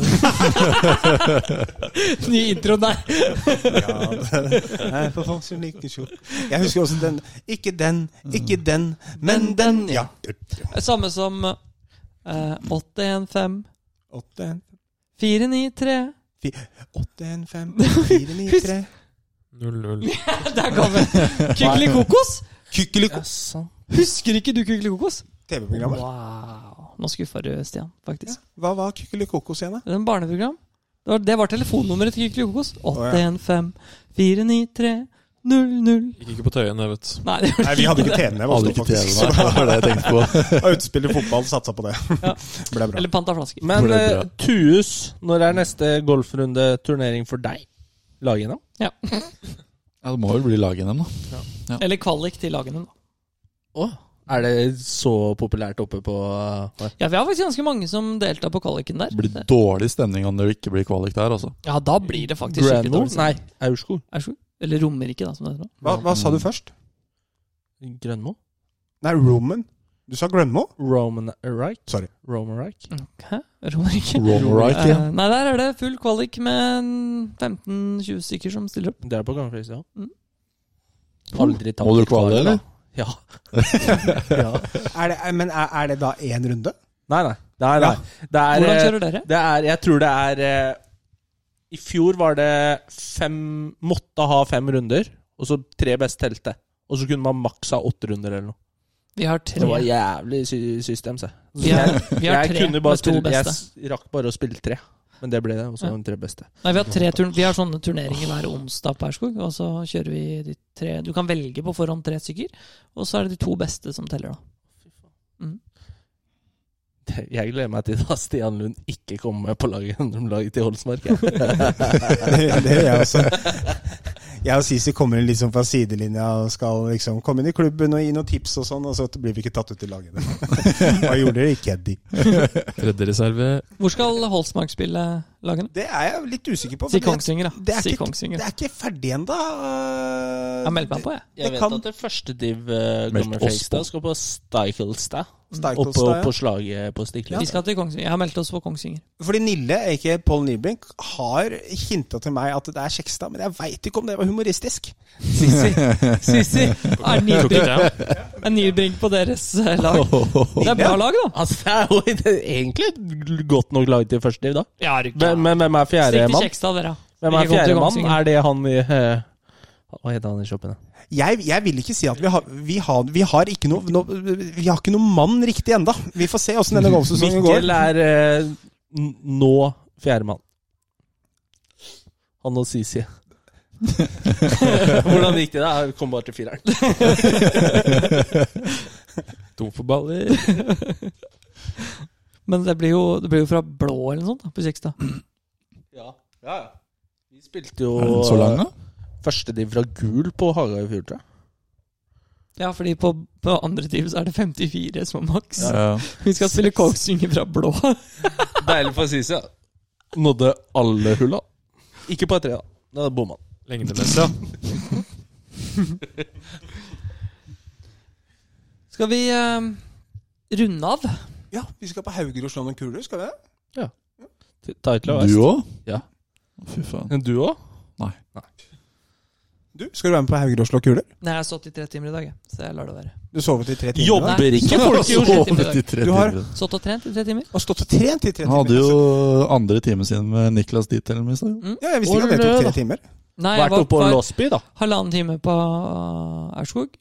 Speaker 2: Ny intro, nei!
Speaker 5: Ja, det er for folk som liker sjokk. Jeg husker også den. Ikke den, ikke den, men den. Ja.
Speaker 2: Samme som eh, 815
Speaker 5: Åtte, en,
Speaker 2: 493
Speaker 5: åtte, en, fem, fire, ni,
Speaker 2: Husk-
Speaker 5: tre.
Speaker 3: Null, null.
Speaker 2: Der kom den! Kykelikokos!
Speaker 5: Kykkeliko.
Speaker 4: Jaså.
Speaker 2: Husker ikke du Kykelikokos?
Speaker 5: TV-programmet.
Speaker 2: Wow. Nå skuffa du Stian, faktisk.
Speaker 5: Hva var Kykkelikokos igjen, da?
Speaker 2: Det er en barneprogram. Det var, det var telefonnummeret til Kykelikokos.
Speaker 5: ja.
Speaker 2: 815 493 00
Speaker 3: Gikk ikke på Tøyen, jeg vet.
Speaker 2: Nei, det var
Speaker 5: Nei, vi hadde ikke TV. Jeg
Speaker 1: Hadde ikke TV, nei. Det var det jeg tenkte på.
Speaker 5: Utspiller fotball, satsa på det. Ble bra.
Speaker 2: Eller panta flasker.
Speaker 4: Men
Speaker 1: Hvor er det
Speaker 4: eh, Tuus, når er neste golfrunde turnering for deg? Laget nå?
Speaker 1: Ja, det må vel bli lag NM, da.
Speaker 2: Eller kvalik til lagene, da.
Speaker 4: Er det så populært oppe på eh,
Speaker 2: Ja, vi har faktisk ganske mange som deltar på kvaliken der.
Speaker 1: Det blir dårlig stemning om det ikke blir kvalik der, altså.
Speaker 2: Ja, da blir det faktisk skikkelig
Speaker 4: Granmo?
Speaker 2: dårlig.
Speaker 4: Nei, Aurskog.
Speaker 2: Aurskog? Eller Romerike, da, som det heter nå.
Speaker 5: Hva, hva sa du først?
Speaker 4: Grønmo?
Speaker 5: Nei, Roman. Du sa Grønmo?
Speaker 4: Roman Reich?
Speaker 5: Sorry.
Speaker 4: Roman Reich?
Speaker 2: Hæ? Romerike?
Speaker 1: Romerike, ja.
Speaker 2: Eh, nei, der er det full kvalik med en 15-20 stykker som stiller opp.
Speaker 4: Det er på gammelfest, ja. Hm.
Speaker 2: Mm.
Speaker 4: Aldri tatt
Speaker 1: Må du
Speaker 4: i kval,
Speaker 1: kvale,
Speaker 4: da.
Speaker 1: eller?
Speaker 4: Ja.
Speaker 5: Er det, men er, er det da én runde?
Speaker 4: Nei, nei. Det er, nei. Det er,
Speaker 2: Hvordan
Speaker 4: eh,
Speaker 2: kjører dere?
Speaker 4: Det er, jeg tror det er eh, I fjor var det fem Måtte ha fem runder, og så tre best telte. Og så kunne man maks ha åtte runder eller noe.
Speaker 2: Vi har
Speaker 4: Det var
Speaker 2: tre.
Speaker 4: jævlig sy system, se.
Speaker 2: Vi har, vi har
Speaker 4: Jeg
Speaker 2: tre
Speaker 4: kunne bare
Speaker 2: med to
Speaker 4: spille, jeg
Speaker 2: beste.
Speaker 4: s- rakk bare å spille tre, men det ble det. Og så
Speaker 2: Ja.
Speaker 4: de tre beste.
Speaker 2: Nei, vi har, tre turn vi har sånne turneringer hver onsdag på Aurskog. Og så kjører vi de tre Du kan velge på forhånd tre stykker, og så er det de to beste som teller, da.
Speaker 4: Det- Jeg gleder meg til da Stian Lund ikke kommer med på laget laget til Holsmark. jeg.
Speaker 5: Det det gjør jeg også. Jeg og Sisi kommer inn liksom fra sidelinja og skal liksom komme inn i klubben og gi noen tips og sånn, og så blir vi ikke tatt ut i laget. Hva gjorde dere i Keddy?
Speaker 3: Tredjereserve
Speaker 2: Hvor skal Holsmark spille lagene?
Speaker 5: Det er jeg litt usikker på.
Speaker 2: Si
Speaker 5: for det,
Speaker 2: Kongsvinger,
Speaker 5: det
Speaker 2: da.
Speaker 5: er
Speaker 2: Si
Speaker 5: ikke- det
Speaker 2: Kongsvinger.
Speaker 5: er ikke ferdig øh, ennå.
Speaker 2: Jeg melder meg på, jeg.
Speaker 5: Jeg
Speaker 4: Jeg
Speaker 5: vet
Speaker 4: vet
Speaker 5: kan- at
Speaker 4: at det første div
Speaker 1: Meldt
Speaker 4: Gamle
Speaker 1: oss Fredrikstad på.
Speaker 4: skal på Stikelstad.
Speaker 5: Steikholstad,
Speaker 4: Oppå
Speaker 5: ja.
Speaker 4: på slaget på Stiklestad.
Speaker 2: Vi skal til Kongsvinger. Jeg har meldt oss på Kongsvinger.
Speaker 5: Fordi Nille, ikke Paul Nybrink, har hinta til meg at det er Skjegstad, men jeg veit ikke om det var humoristisk.
Speaker 2: Sissi! Sissi! Er
Speaker 3: Tok
Speaker 2: Nilbrink,
Speaker 3: ikke det.
Speaker 2: er Nilbrink på deres eh, lag? Det er bra lag, da.
Speaker 4: Altså, det er jo egentlig et godt nok lag til første div, da.
Speaker 2: Ja, er du ikke-
Speaker 4: Hvem, hvem hvem er
Speaker 2: Stikk til
Speaker 4: fjerdemann?
Speaker 2: Kjekstad, dere.
Speaker 4: Hvem
Speaker 2: Ikke kom
Speaker 4: er
Speaker 2: til
Speaker 4: fjerdemann?
Speaker 2: Kongsvinger.
Speaker 4: Er det han i eh, Hva heter han i shoppen? da?
Speaker 5: Jeg, jeg vil ikke si at vi har, vi har, vi har ikke noe no, Vi har ikke noen mann riktig enda Vi får se åssen denne golfsesongen går.
Speaker 4: Mikkel er eh, n- nå fjerdemann. Han og Sisi. Hvordan gikk det? da? Jeg kom bare til fireren.
Speaker 3: Tom for baller.
Speaker 2: Men det blir, jo, det blir jo fra blå eller noe sånt da, på Kjekstad.
Speaker 4: Ja, ja. Vi spilte jo eh,
Speaker 1: Er den så lang, da?
Speaker 4: første div fra gul på Haga i fjor, tror jeg.
Speaker 2: Ja, fordi på, på andre team så er det 54 som er maks.
Speaker 1: Ja.
Speaker 2: Vi skal spille Kongsvinger fra blå.
Speaker 4: Deilig for Sisi, ja. nådde alle hulla. Ikke på et tre, da. Da bomma han.
Speaker 3: Lengdemessig, ja.
Speaker 2: Skal vi eh, runde av?
Speaker 5: Ja, vi skal på Hauger og slå noen kuler, skal vi det?
Speaker 4: Title og
Speaker 1: Du òg?
Speaker 4: Ja.
Speaker 1: Fy faen.
Speaker 4: Du òg?
Speaker 5: Du, skal du være med på Hauger og slå kuler?
Speaker 2: Nei, jeg har stått i tre timer i dag, jeg, så jeg lar det være.
Speaker 5: Du sovet i tre timer.
Speaker 2: Jobber
Speaker 5: i dag.
Speaker 2: ikke folk i Oslo i dag.
Speaker 1: Sovet i tre
Speaker 5: Du har-
Speaker 1: timer.
Speaker 2: Stått og trent i tre timer.
Speaker 5: Og stått og trent i
Speaker 1: Han
Speaker 5: tre timer.
Speaker 1: hadde jo
Speaker 5: altså.
Speaker 1: andre timen sin med Niklas Diethelm i stad.
Speaker 5: Ja, jeg visste ikke at
Speaker 4: Årlø,
Speaker 5: det tok
Speaker 4: da.
Speaker 5: tre timer.
Speaker 2: Nei, jeg
Speaker 4: Vært
Speaker 2: var,
Speaker 4: oppe på
Speaker 2: var
Speaker 4: Låsby, da.
Speaker 2: halvannen time på eh, Aurskog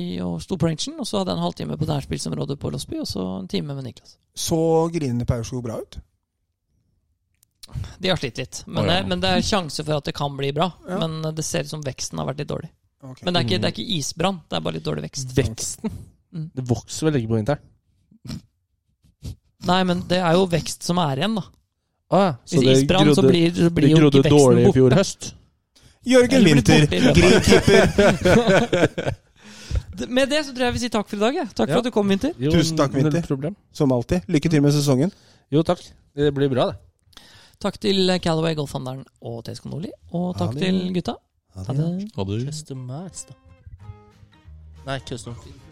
Speaker 2: i- og sto på rangen, og så hadde jeg en halvtime på nærspillsområdet på Losby, og så en time med Niklas.
Speaker 5: Så grinene på Aurskog bra ut.
Speaker 2: De har slitt litt, men,
Speaker 1: Å, ja.
Speaker 2: det, men det er sjanse for at det kan bli bra.
Speaker 5: Ja.
Speaker 2: Men eh, det ser ut som veksten har vært litt dårlig.
Speaker 5: Ok.
Speaker 2: Men det er ikke, det er ikke isbrann, det er bare litt dårlig vekst.
Speaker 4: Veksten.
Speaker 2: Mm.
Speaker 4: Det vokser vel ikke på vinteren?
Speaker 2: Nei, men det er jo vekst som er igjen, da.
Speaker 4: Ah, ja.
Speaker 2: Hvis isbrann, så blir, så
Speaker 4: det
Speaker 2: blir jo
Speaker 4: grodde
Speaker 2: ikke veksten
Speaker 4: dårlig i
Speaker 2: borte.
Speaker 4: fjor høst.
Speaker 5: Jørgen
Speaker 2: Eller blir
Speaker 5: Winther,
Speaker 2: borte i løpet.
Speaker 5: grillkeeper.
Speaker 2: Med det så tror jeg vi sier takk for i dag. jeg. Takk for
Speaker 4: Ja.
Speaker 2: at du kom, Winter.
Speaker 4: Jo,
Speaker 5: Tusen takk,
Speaker 4: null
Speaker 5: Winter.
Speaker 4: problem.
Speaker 5: Som alltid. Lykke til med sesongen.
Speaker 4: Jo, takk. Det blir bra, det.
Speaker 2: Takk til Calaway, Golfhandelen og TSK Nordli. Og takk
Speaker 5: Ha det.
Speaker 2: til gutta. Ha det.
Speaker 1: Hadde
Speaker 4: Customized, da. Nei, custom.